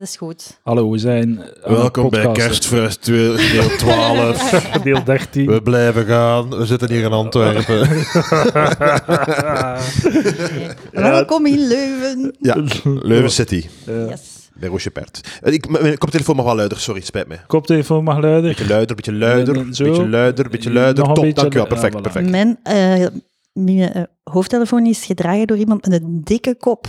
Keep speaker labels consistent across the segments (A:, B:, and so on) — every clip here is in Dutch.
A: Dat is goed.
B: Hallo, we zijn. eh, aan
C: Ah, Welkom
B: het
C: bij
B: podcasten.
C: Kerstfest 2, deel 12.
B: Deel 13.
C: We blijven gaan. We zitten hier in Antwerpen.
A: Welkom in Leuven.
C: Ja, Leuven City.
B: Eh,
A: Yes.
C: Bij Rochepert. Ik, m- mijn koptelefoon mag wel luider, sorry, het spijt me.
B: koptelefoon mag luider.
C: Beetje luider, beetje luider,
B: En, en zo.
C: beetje luider, beetje
B: Nog
C: luider.
B: een
C: Top,
B: beetje-
C: dankjewel.
B: ja,
C: Perfect,
B: voilà.
C: perfect.
A: Mijn, eh, mijn eh, hoofdtelefoon is gedragen door iemand met een dikke kop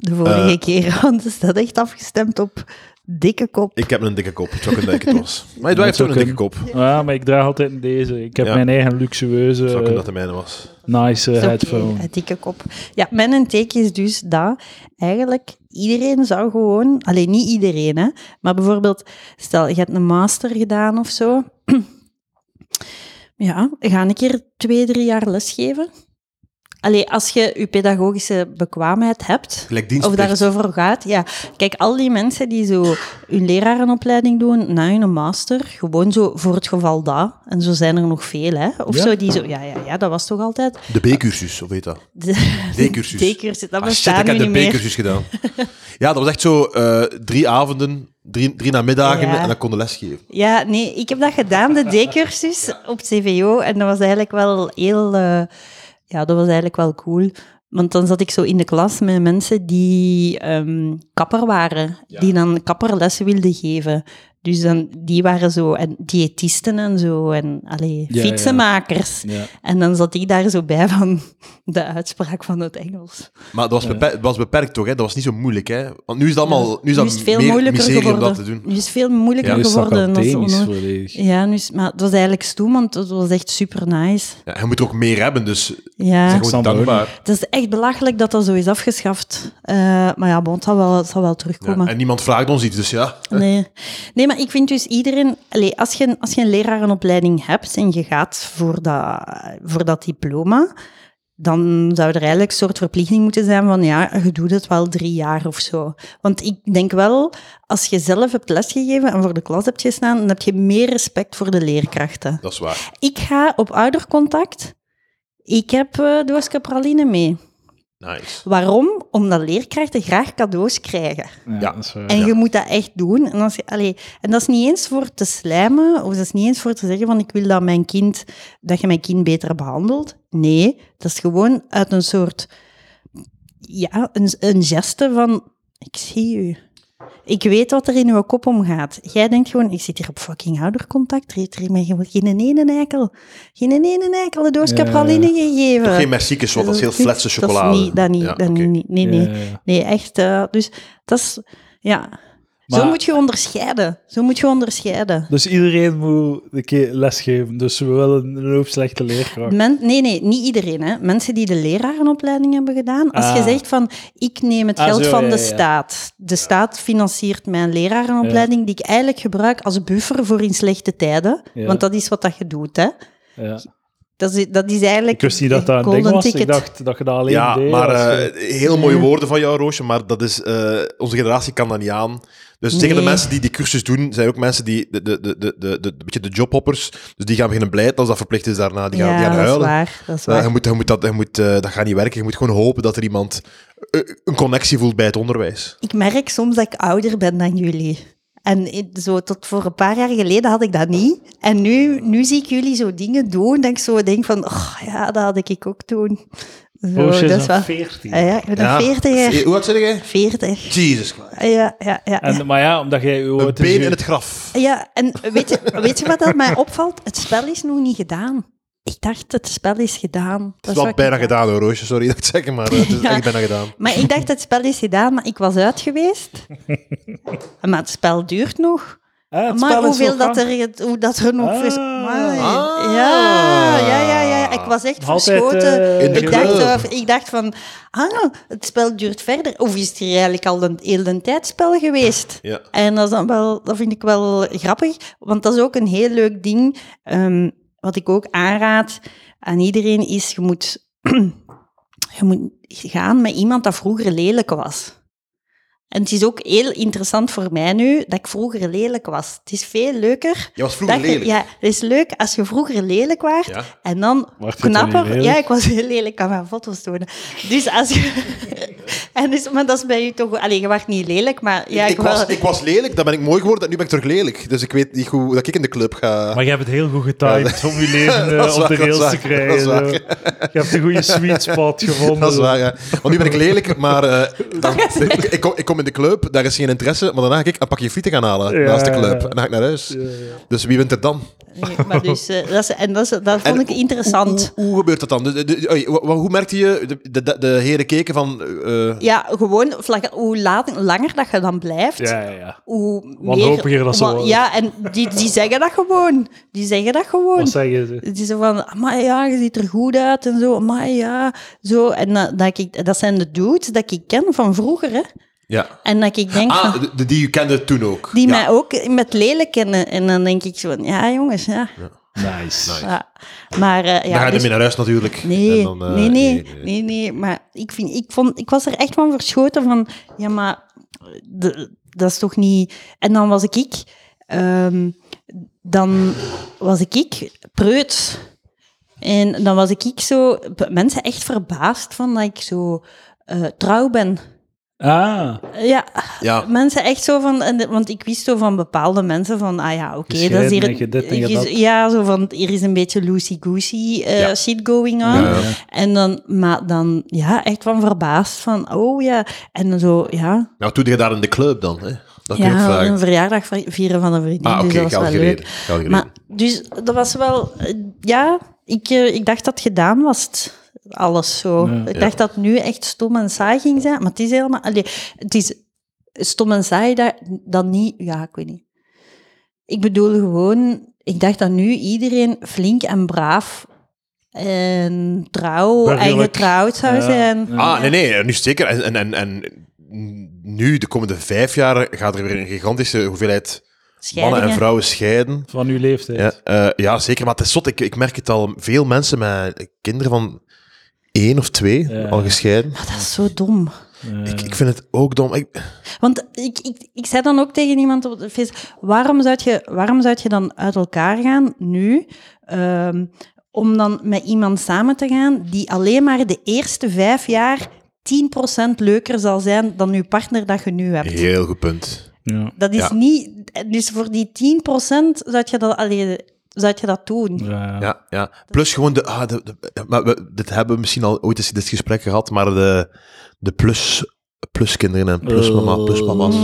A: de vorige keer. Want is dat echt afgestemd op dikke kop.
C: Ik heb een dikke kop, het zou kunnen dat ik het was. Maar Edouard
B: Dat
C: heeft ook
B: zou
C: een dikke kop. Het
B: Ja, maar ik draag altijd in deze. Ik heb
C: Ja.
B: mijn eigen luxueuze,
C: zou kunnen dat de mijne was.
B: nice eh,
A: Is oké,
B: headphone.
A: een dikke kop. Ja, mijn intake is dus dat eigenlijk iedereen zou gewoon, alleen niet iedereen, hè, maar bijvoorbeeld, stel je hebt een master gedaan of zo. Ja, ga een keer twee, drie jaar lesgeven. Allee, als je je pedagogische bekwaamheid hebt,
C: Gelijk
A: of daar
C: dienstplicht.
A: zo voor gaat. Ja, kijk, al die mensen die zo hun lerarenopleiding doen na hun master, gewoon zo voor het geval dat. En zo zijn er nog veel, hè? Of
B: Ja?
A: zo, die zo, ja, ja, ja, dat was toch altijd.
C: De B-cursus, of weet dat?
A: De-
C: D-cursus.
A: D-cursus, dat
C: Ah, shit,
A: bestaat
C: ik heb
A: nu
C: de
A: niet meer.
C: B-cursus gedaan. Ja, dat was echt zo eh, drie avonden, drie, drie namiddagen
A: Ja.
C: en dan kon de les geven.
A: Ja, nee, ik heb dat gedaan, de D-cursus op CVO. En dat was eigenlijk wel heel... eh, ja, dat was eigenlijk wel cool. Want dan zat ik zo in de klas met mensen die ehm, kapper waren. Die dan kapperlessen wilden geven. Dus dan, die waren zo... En diëtisten en zo. En allee,
B: Ja, ja.
A: fietsenmakers.
B: Ja.
A: En dan zat ik daar zo bij van de uitspraak van het Engels.
C: Maar dat was, beperkt, dat was beperkt toch, hè? Dat was niet zo moeilijk, hè? Want nu is het allemaal nu is dat
A: nu is het veel
C: meer
A: moeilijker
C: miserie
A: geworden.
C: om dat te doen.
A: Nu is het veel moeilijker
B: Ja, is dat
A: geworden. dan
B: academisch
A: zo-
B: volledig.
A: Ja, nu is, maar het was eigenlijk stoem, want het was echt super nice.
C: Ja, je moet er ook meer hebben, dus
A: Ja,
C: zijn gewoon
B: Sander,
C: dankbaar.
A: het is echt belachelijk dat dat zo is afgeschaft. Eh, maar ja, bon, het zal wel, het zal wel
C: Ja,
A: terugkomen.
C: en niemand vraagt ons iets, dus ja.
A: Nee. nee, maar ik vind dus iedereen... Allee, als, je, een- als je een lerarenopleiding hebt en je gaat voor dat, voor dat diploma, dan zou er eigenlijk een soort verplichting moeten zijn van ja, je doet het wel drie jaar of zo. Want ik denk wel, als je zelf hebt lesgegeven en voor de klas hebt gestaan, dan heb je meer respect voor de leerkrachten.
C: Dat is waar.
A: Ik ga op oudercontact... Ik heb eh doosje praline mee.
C: Nice.
A: Waarom? Omdat leerkrachten graag cadeaus krijgen.
B: eh, Ja,
C: Ja.
B: dat is waar.
A: En
C: Ja.
A: je moet dat echt doen. En, als je, allee, en dat is niet eens voor te slijmen, of dat is niet eens voor te zeggen van ik wil dat mijn kind, dat je mijn kind beter behandelt. Nee, dat is gewoon uit een soort, ja, een, een geste van ik zie u. Ik weet wat er in uw kop omgaat. Jij denkt gewoon, ik zit hier op fucking oudercontact, er heeft hier mij gewoon geen ene eikel, geen ene eikel een doos
B: Ja.
A: capraline gegeven.
C: Toch geen merci wat dat is heel fletse chocolade.
A: Eh, Dat is niet, dat niet,
C: Ja,
A: dat
C: oké.
A: niet. Nee,
B: Ja,
A: nee.
B: ja, ja.
A: Nee, echt. eh, dus dat is, ja. Zo
B: Maar-
A: moet je onderscheiden. Zo moet je onderscheiden.
B: Dus iedereen moet een keer lesgeven. Dus we willen een hoop slechte leerkracht.
A: Men, nee, nee, niet iedereen. Hè. Mensen die de lerarenopleiding hebben gedaan. Als je
B: Ah.
A: zegt van, ik neem het
B: Ah,
A: geld
B: zo,
A: van
B: ja,
A: de
B: ja, ja.
A: staat. De staat financiert mijn lerarenopleiding, die ik eigenlijk gebruik als buffer voor in slechte tijden.
B: Ja.
A: Want dat is wat dat je doet, hè.
B: Ja.
A: Dat is, dat is eigenlijk
B: Ik wist niet dat dat een
A: golden
B: ding was.
A: ticket.
B: Ik dacht dat je dat alleen
C: Ja,
B: deed.
C: maar
B: als je-
C: eh, heel mooie woorden van jou, Roosje, maar dat is, eh, onze generatie kan dat niet aan. Dus zeker de
A: Nee.
C: mensen die die cursus doen, zijn ook mensen die, de, de, de, de, de, de, een beetje de jobhoppers, dus die gaan beginnen blijten als dat verplicht is daarna. Die gaan, die
A: ja,
C: gaan
A: dat is
C: huilen.
A: waar. Dat is
C: Ja,
A: waar.
C: je moet, je moet dat, je moet, eh, dat gaat niet werken. Je moet gewoon hopen dat er iemand eh, een connectie voelt bij het onderwijs.
A: Ik merk soms dat ik ouder ben dan jullie. En ik- zo tot voor een paar jaar geleden had ik dat niet. En nu, nu zie ik jullie zo dingen doen dat ik zo denk van, oh, ja, dat had ik ook doen. Zo,
B: Roosje is
A: dat is
B: aan
A: wel...
B: 14.
A: Ah ja, ik ben een
C: Eh,
A: veertiger.
C: Hoe oud zeg jij?
A: Veertig.
C: Jesus Christ.
A: Ja, ja, ja. ja.
B: En, maar ja, omdat jij je
C: Een
B: oud is,
C: been
B: je-
C: in het graf.
A: Ja, en weet je, weet je wat dat mij opvalt? Het spel is nog niet gedaan. Ik dacht, het spel is gedaan.
C: Het is wel bijna gedaan hoor, Roosje. Sorry dat ik het zeg, maar eh, het is
A: Ja.
C: echt bijna gedaan.
A: Maar ik dacht, het spel is gedaan, maar ik was uit geweest. Maar het spel duurt nog.
B: Ah, het
A: maar
B: spel is
A: hoeveel
B: nog
A: dat
B: gang.
A: er, hoe dat er nog
B: Ah.
A: vers... Amai.
C: Ah.
A: Ja, ja, ja, ja. Ik was echt
B: Altijd,
A: verschoten.
B: eh,
C: In de
A: ik, dacht,
C: kleur.
A: eh, ik dacht van, ah, het spel duurt verder. Of is het hier eigenlijk al een heel de tijd spel geweest?
C: Ja.
A: En dat, is dan wel, dat vind ik wel grappig, want dat is ook een heel leuk ding. Ehm, wat ik ook aanraad aan iedereen is, je moet, je moet gaan met iemand dat vroeger lelijk was. En het is ook heel interessant voor mij nu dat ik vroeger lelijk was. Het is veel leuker.
C: Je was vroeger
A: dat je-
C: lelijk.
A: Ja, het is leuk als je vroeger lelijk was
C: Ja.
A: en dan
B: Wacht, je bent
A: knapper.
B: niet lelijk?
A: Ja, ik was heel lelijk, ik kan mijn foto's tonen. Dus als je, En dus, maar dat is bij u toch... Allee, je wacht niet lelijk, maar... Ja,
C: ik,
A: wel-
C: was, ik was lelijk, dan ben ik mooi geworden en nu ben ik terug lelijk. Dus ik weet niet hoe dat ik in de club ga.
B: Maar je hebt het heel goed getimed om je leven eh,
C: dat is
B: op de
C: waar, dat
B: rails te
C: is waar, dat
B: krijgen.
C: is
B: zo.
C: waar.
B: Je hebt een goede sweet spot gevonden.
C: Dat is waar, ja. Want nu ben ik lelijk, maar eh, dan- ik, ik, kom, ik kom in de club, daar is geen interesse. Maar daarna ga ik een pakje frieten gaan halen
B: Ja.
C: naast de club. En dan ga ik naar huis. Dus wie wint er dan?
A: Nee, maar dus, eh, dat, is, en dat, is, dat vond
C: En
A: ik interessant.
C: Hoe, hoe gebeurt dat dan? De- de- de- oei, wa- wa- hoe merkte je, de, de, de- de heren keken van... eh,
A: Ja, gewoon vlag- hoe la- langer dat je dan blijft,
B: Ja, ja, ja.
A: hoe
B: Wanhopiger
A: meer...
B: dat ze
A: wa-
B: worden.
A: Ja, en die, die zeggen dat gewoon. Die zeggen dat gewoon.
B: Wat zeggen ze?
A: Het is zo van, maar ja, je ziet er goed uit en zo, maar ja, zo. En dat, dat, ik, dat zijn de dudes dat ik ken van vroeger, hè.
C: ja.
A: En dat ik denk van,
C: Ah, de, de- die je kende toen ook.
A: die
C: Ja.
A: mij ook met lelijk kennen. En dan denk ik zo van, ja jongens, ja.
B: Nice.
A: ja. Maar eh, ja,
C: dan ga je
A: dus-
C: ermee naar huis natuurlijk.
A: Nee,
C: En dan, eh,
A: nee, nee, nee, nee. Maar ik, vind, ik, vond, ik was er echt van verschoten van... Ja, maar de- dat is toch niet... En dan was ik ik... ehm, dan was ik ik preuts. En dan was ik ik zo... Mensen echt verbaasd van dat ik zo eh, trouw ben.
B: Ah,
A: Ja,
C: Ja.
A: mensen echt zo van... en de- Want ik wist zo van bepaalde mensen van... Ah ja, oké, dat is
B: Gescheiden
A: hier...
B: en je dit en je
A: hier is-
B: dat.
A: Ja, zo van... Hier is een beetje loosey-goosey eh,
C: Ja.
A: shit going on.
C: Ja, ja.
A: En dan... Maar dan... Ja, echt van verbaasd van... Oh ja. En dan zo... Ja,
C: Nou, toen je daar in de club dan, hè? Dat kun je ook
A: ja
C: vragen.
A: een verjaardag vi- vieren van een vriendin.
C: Ah,
A: dus
C: oké,
A: dat was
C: goud
A: wel
C: gereden.
A: leuk.
C: goud gereden.
A: Maar dus dat was wel... eh, Ja, ik, eh, ik dacht dat gedaan was het, Alles zo.
B: Ja.
A: ik dacht dat het nu echt stom en saai ging zijn. Maar het is helemaal... Allee, het is stom en saai dat, dan niet... Ja, ik weet niet. Ik bedoel gewoon... Ik dacht dat nu iedereen flink en braaf en trouw en
B: Burgerlijk.
A: getrouwd zou
B: Ja.
A: zijn.
B: Ja.
C: Ah, nee, nee, nu zeker. En, en, en, en nu, de komende vijf jaar, gaat er weer een gigantische hoeveelheid mannen
A: Scheidingen.
C: en vrouwen scheiden.
B: van uw leeftijd.
C: Ja, eh, ja, zeker. Maar het is zot. Ik, ik merk het al. Veel mensen met kinderen van één of twee
B: Ja.
C: al gescheiden.
A: Maar Ah, dat is zo dom.
B: Eh,
C: Ik, ik vind het ook dom. Ik,
A: Want ik, ik, ik zei dan ook tegen iemand op de feest, waarom zou je, waarom zou je dan uit elkaar gaan nu, ehm, om dan met iemand samen te gaan die alleen maar de eerste vijf jaar 10% leuker zal zijn dan je partner dat je nu hebt?
C: heel goed punt.
B: ja.
A: Dat is
C: Ja.
A: niet... Dus voor die 10% zou je dat, alleen, zou je dat doen.
B: Ja.
C: Ja, ja. Plus gewoon de... Ah, de, de- maar we, dit hebben we misschien al ooit eens in dit gesprek gehad, maar de, de plus, pluskinderen en plusmama,
B: Oh.
C: pluspapa's.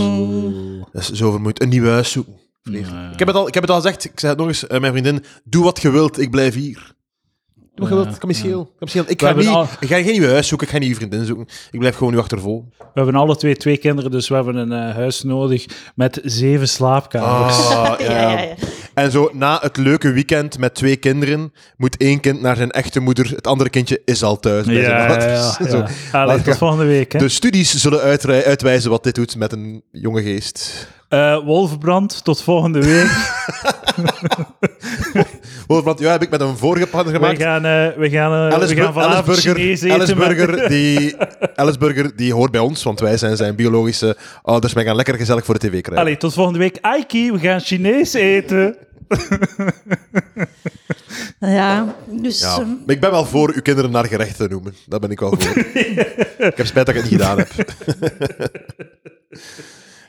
C: Dat is zo vermoeid. Een nieuw huis zoeken.
B: Ja.
C: Ik heb, het al, ik heb het al gezegd, ik zei het nog eens, eh, mijn vriendin, doe wat je wilt, ik blijf hier. Doe wat je
B: Ja,
C: wilt, kom eens
B: ja.
C: heel. Kom eens heel. Ik,
B: We
C: ga
B: hebben
C: niet,
B: al-
C: ik ga geen nieuw huis zoeken, ik ga geen nieuwe vriendin zoeken. Ik blijf gewoon nu achtervol.
B: We hebben alle twee twee kinderen, dus we hebben een eh, huis nodig met zeven slaapkamers.
C: Ah,
A: Ja, ja, ja.
C: En zo na het leuke weekend met twee kinderen, moet één kind naar zijn echte moeder, het andere kindje is al thuis. bij zijn
B: ja, ja,
C: ouders.
B: ja.
C: Zo.
B: ja. Allee, tot volgende week. Hè.
C: De studies zullen uitrij- uitwijzen wat dit doet met een jonge geest.
B: Eh, Wolfbrand, tot volgende week.
C: Wolfbrand, ja, heb ik met een vorige partner
B: we
C: gemaakt.
B: gaan, eh, we gaan, eh, we
C: Alice,
B: gaan
C: Bur-
B: vanavond
C: Alice
B: Chinees
C: Burger,
B: eten.
C: Alice
B: maar-
C: Burger, die, Alice Burger, die hoort bij ons, want wij zijn zijn biologische ouders. Wij gaan lekker gezellig voor de tv krijgen.
B: Allee, tot volgende week. Aiki, we gaan Chinees eten.
A: Ja, dus...
C: Ja.
A: ehm,
C: Maar ik ben wel voor uw kinderen naar gerecht te noemen. Daar ben ik wel voor. ik heb spijt dat ik het niet gedaan heb.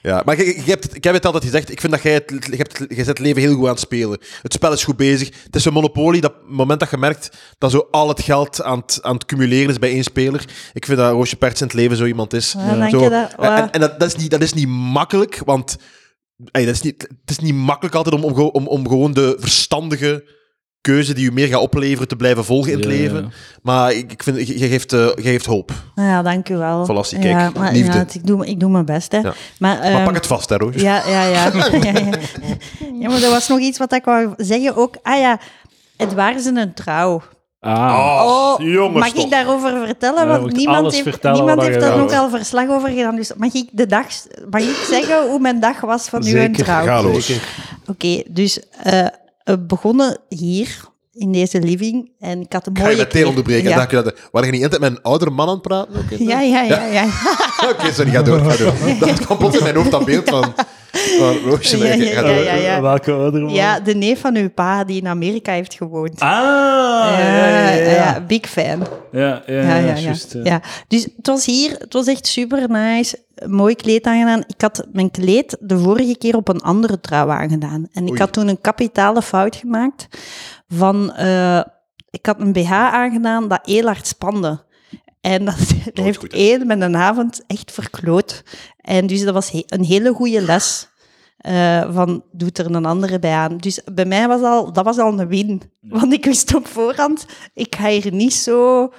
C: ja, maar ik, ik, heb het, ik heb het altijd gezegd. Ik vind dat jij het, je hebt, het- jij zet het leven heel goed aan het spelen. Het spel is goed bezig. Het is een monopolie. Dat moment dat je merkt dat zo al het geld aan het, aan het cumuleren is bij één speler. Ik vind dat Roosje Perts in het leven zo iemand is.
A: Ja, dank
C: Zo,
A: je dat-
C: En, en dat, dat, is niet, dat is niet makkelijk, want... ey, dat is niet, het is niet makkelijk altijd om, om, gewoon- om, om gewoon de verstandige keuze die u meer gaat opleveren te blijven volgen in het
B: Ja, ja,
C: leven.
B: ja.
C: Maar ik, ik vind, je je geeft, eh, je geeft hoop.
A: nou ja, dank u wel.
C: Verlassie, kijk,
A: Ja, maar,
C: liefde.
A: ja, het- ik, doe, ik doe mijn best, hè.
C: Ja.
A: Maar,
C: Maar
A: ehm,
C: pak het vast, hè, Roos.
A: Ja, ja, ja. ja, ja. Ja, maar er was nog iets wat ik wou zeggen ook. Ah ja, het waren ze een trouw.
B: Ah.
A: Oh,
C: jongens,
A: mag ik
C: toch.
A: daarover vertellen?
B: Ja, je
A: Want
B: moet
A: niemand
B: alles
A: heeft,
B: vertellen
A: niemand
B: wat
A: heeft
B: je
A: daar
B: wil.
A: ook al verslag over gedaan. Dus mag ik, de dag, mag ik zeggen hoe mijn dag was van uw
B: Zeker,
A: trouw?
C: Ga, Roos.
A: Oké, dus eh, we begonnen hier, in deze living. En ik had een
C: Ik ga
A: mooie...
C: je meteen
A: keer-
C: onderbreken.
A: Ja.
C: Dacht je dat, waar je niet altijd met een oudere man aan het praten? Oké,
A: Ja, ja, ja, ja.
C: Oké, sorry, ga door. Ga door. Dat komt plots in mijn hoofd dat beeld van... Waar Roosje mee
A: Ja, ja,
C: gaat.
A: ja, ja.
B: Welke oudere
A: Ja, de neef van uw pa die in Amerika heeft gewoond. Eh,
B: Ah, ja, ja, ja. ja.
A: big fan.
B: Ja, ja,
A: Ja, ja, ja.
B: juist, ja.
A: Ja. Dus het was hier, het was echt super nice. Mooi kleed aangedaan. Ik had mijn kleed de vorige keer op een andere trouw aangedaan. En ik
C: Oei.
A: had toen een kapitale fout gemaakt van... eh, ik had een BH aangedaan dat heel hard spande. En dat, dat heeft
C: goed, hè?
A: één met een avond echt verkloot. En dus dat was he- een hele goede les. eh, van doet er een andere bij aan. Dus bij mij was al, dat was al een win. Want ik wist op voorhand, ik ga hier niet zo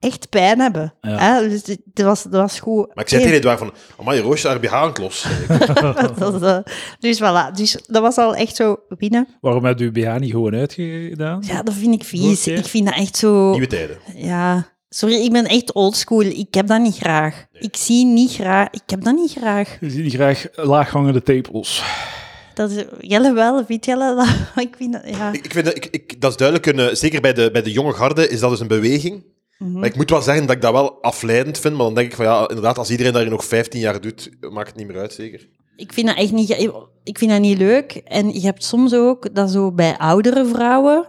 A: echt pijn hebben.
B: Ja.
A: Hè? Dus het- het was, dat was goed.
C: Maar ik zei tegen Edouard van, amai, Roosje, haar BH aan het los.
A: Dat was, eh, dus voilà, dus dat was al echt zo winnen.
B: Waarom heb je BH niet gewoon uitgedaan?
A: Ja, dat vind ik vies.
B: Oké.
A: Ik vind dat echt zo...
C: Nieuwe tijden.
A: Ja, sorry, ik ben echt oldschool. Ik heb dat niet graag. Ik zie niet graag... Ik heb dat niet graag.
B: Je ziet graag laaghangende tepels.
A: Dat is, Jelle wel, vindt Jelle dat? Ik vind dat... Ja.
C: Ik, ik vind dat, ik, ik- dat is duidelijk, een, eh, zeker bij de, bij de jonge garde is dat dus een beweging.
A: Mhm.
C: Maar ik moet wel zeggen dat ik dat wel afleidend vind, maar dan denk ik van ja, inderdaad, als iedereen dat nog 15 jaar doet, maakt het niet meer uit, zeker.
A: Ik vind dat echt niet, ge- ik vind dat niet leuk. En je hebt soms ook dat zo bij oudere vrouwen,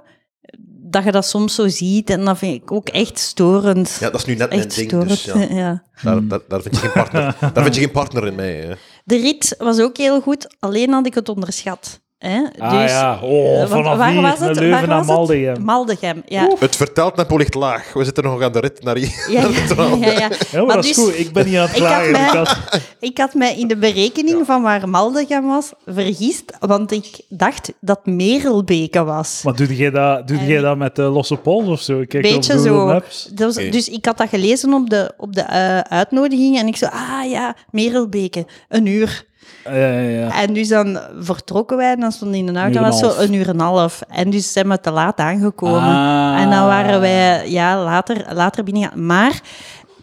A: dat je dat soms zo ziet. En dat vind ik ook echt storend.
C: Ja, dat is nu net mijn
A: echt
C: ding,
A: storend.
C: dus ja,
A: ja.
C: daar, daar, daar vind je geen partner, daar vind je geen partner in mij. Hè.
A: De rit was ook heel goed, alleen had ik het onderschat. Hè?
B: ah ja, oh,
A: Dus- eh, want
B: vanaf
A: waar
B: hier
A: was
B: naar
A: het?
B: Leuven
A: Waar
B: naar
A: was het?
B: Maldegem.
A: Maldegem, ja.
C: Het vertelt Napel ligt laag. We zitten nog aan de rit naar hier.
A: Ja, ja,
C: naar de
A: ja,
C: trouw.
A: ja, ja.
B: Ja, maar,
A: Maar
B: dat is
A: dus-
B: goed. Ik ben niet aan het
A: Ik had
B: klagen.
A: mij-
B: Ik had-
A: Ik had mij in de berekening van waar Maldegem was vergist, want ik dacht dat Merelbeke was.
B: Maar doe jij dat, doe jij dat met eh, losse pols of zo? Kijk
A: beetje
B: op Google
A: zo.
B: Maps.
A: Dat was-
C: Oké.
A: Dus ik had dat gelezen op de, op de eh, uitnodiging en ik zo, ah ja, Merelbeke, een uur.
B: Ja, ja, ja.
A: En dus dan vertrokken wij en dan stonden we in een auto
B: Een uur
A: en was
B: en
A: zo
B: half.
A: een uur en een half. En dus zijn we te laat aangekomen.
B: Ah.
A: En dan waren wij ja, later, later binnen. Maar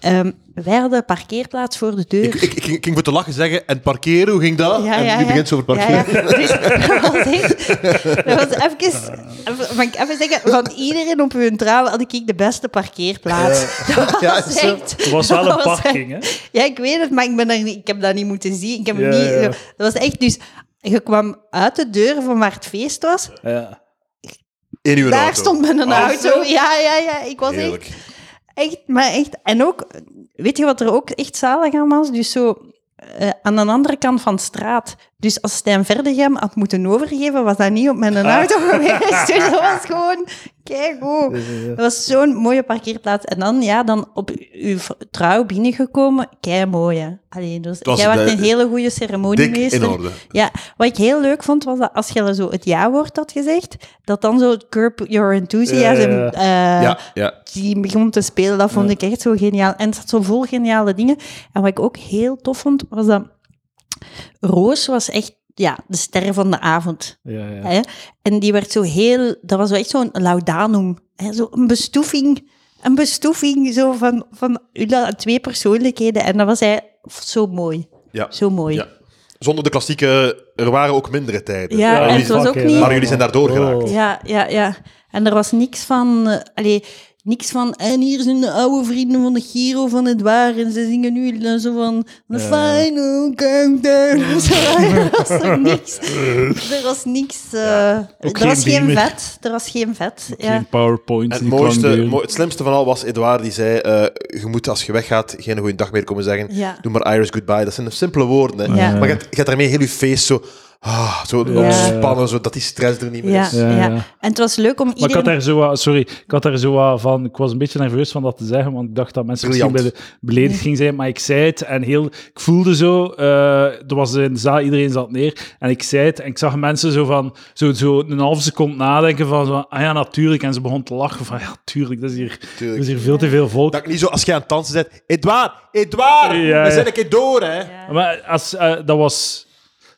A: ehm, wij hadden parkeerplaats voor de deur.
C: Ik, ik, ik, ik ging voor te lachen zeggen, en parkeren, hoe ging dat?
A: Ja,
C: en
A: ja,
C: nu
A: ja.
C: begint ze over
A: Ja,
C: parkeren.
A: ja. Dus dat was echt... Dat was even... even- Mag ik even zeggen? Van iedereen op hun trouw had ik de beste parkeerplaats. Dat was
C: Ja, is zo.
A: echt...
B: Er was wel
A: dat
B: een
A: was
B: parking, hè?
A: Ja, ik weet het, maar ik, ben er niet, ik heb dat niet moeten zien. Ik heb
B: Ja,
A: niet,
B: ja.
A: Dat was echt... Dus je kwam uit de deur van waar het feest was.
B: Ja.
C: In uw
A: Daar
C: auto.
A: stond mijn een
C: Ah,
A: auto. Ja, ja, ja. Ik was echt
C: Heerlijk.
A: Echt, maar echt. En ook, weet je wat er ook echt zalig aan was? Dus zo eh, aan de andere kant van de straat. Dus als Stijn Verdegem had moeten overgeven, was dat niet op mijn
C: Ah.
A: auto geweest. Dus dat was gewoon keigoed.
C: Dus, eh,
A: Dat was zo'n mooie parkeerplaats. En dan, ja, dan op u- uw v- trouw binnengekomen, kei mooi. Alleen, dus
C: was
A: jij was
C: de-
A: een hele goede
C: Dik
A: ceremoniemeester.
C: in orde.
A: Ja, wat ik heel leuk vond, was dat als je zo het ja-woord had gezegd, dat dan zo het curb your enthusiasm
B: Ja, ja,
A: eh,
C: ja, ja.
A: die begon te spelen. Dat vond ik echt zo geniaal. En het zat zo vol geniale dingen. En wat ik ook heel tof vond, was dat Roos was echt ja, de ster van de avond.
B: Ja, ja.
A: Hè? En die werd zo heel... Dat was wel echt zo'n laudanum. Hè? Zo een bestoefing. Een bestoefing zo van, van Ulla, twee persoonlijkheden. En dat was hij zo mooi.
C: Ja.
A: Zo mooi.
C: Ja. Zonder de klassieke, er waren ook mindere tijden.
A: Ja,
C: maar
A: en
C: jullie
A: het was
C: zijn-
A: ook
B: fucking
A: niet-
C: Maar jullie zijn daardoor
B: Oh.
C: geraakt.
A: Ja, ja, ja. En er was niks van... eh, allee, niks van... En hier zijn de oude vrienden van de Giro van het waar. En ze zingen nu dan zo van... The final countdown. Zo, er was er niks. Er was niks... eh,
B: Ook
A: er was
B: geen
A: geen
B: beamer.
A: vet. Er was geen vet. Ja.
B: Geen PowerPoint.
C: En het,
B: die
C: mooiste,
B: kwam
C: mo- het slimste van al was Edouard die zei: eh, Je moet als je weggaat geen goede dag meer komen zeggen.
A: Ja.
C: Doe maar Iris goodbye. Dat zijn simpele woorden. Hè.
A: Ja.
C: Maar je gaat, je gaat daarmee heel je feest zo, ah, zo
B: Ja.
C: ontspannen, zo, dat die stress er niet meer
A: Ja,
C: is.
B: Ja,
A: ja,
B: ja.
A: En het was leuk om
B: Maar ik had
A: iedereen...
B: daar zo wat, sorry, ik had daar zo wat van, ik was een beetje nerveus van dat te zeggen, want ik dacht dat mensen misschien
C: Briljant.
B: bij de beledigd gingen zijn, maar ik zei het en heel, ik voelde zo, eh er was in de zaal, iedereen zat neer, en ik zei het en ik zag mensen zo van, zo, zo een half seconde nadenken van, zo, ah ja, natuurlijk, en ze begon te lachen van, ja, tuurlijk, dat is hier, dat is hier veel te veel volk.
C: Dat ik niet zo als je aan het dansen bent: Edouard, Edouard,
B: Ja,
C: we
B: ja.
C: zijn een keer door. Hè.
B: Maar als, eh, dat was...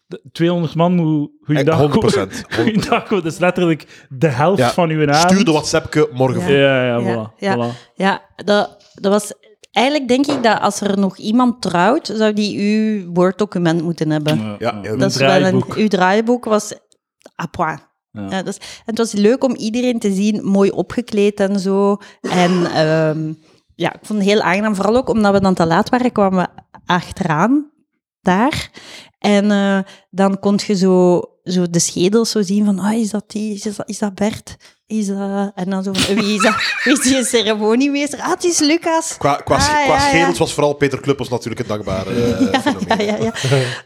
B: de- 200 man moet goeiedag
C: Eh, 100%,
B: komen. Goeiedag komen. Dat is letterlijk de helft
C: Ja.
B: van uw avond.
C: Stuur de WhatsAppke morgen.
A: Ja.
C: voor.
B: Ja, ja,
A: Ja,
B: voilà.
A: ja,
B: voilà.
A: ja dat, dat was... Eigenlijk denk ik dat als er nog iemand trouwt, zou die uw Word-document moeten hebben.
C: Ja, heel
A: Dat
C: goed.
A: is wel een,
B: draaiboek.
A: uw draaiboek was à point.
B: Ja.
A: Ja. dat is, en het was leuk om iedereen te zien, mooi opgekleed en zo. En ehm, ja, ik vond het heel aangenaam. Vooral ook omdat we dan te laat waren, kwamen we achteraan. daar. En eh, dan kon je zo, zo de schedels zo zien van, ah, is dat die, is dat, is dat Bert? Is dat... En dan zo van, wie is dat? Wie is die ceremoniemeester? Ah, het is Lucas.
C: Qua, qua,
A: Ah,
C: qua
A: ja, ja.
C: schedels was vooral Peter Kluppels natuurlijk het dankbare eh,
A: ja,
C: fenomeen.
A: ja, ja.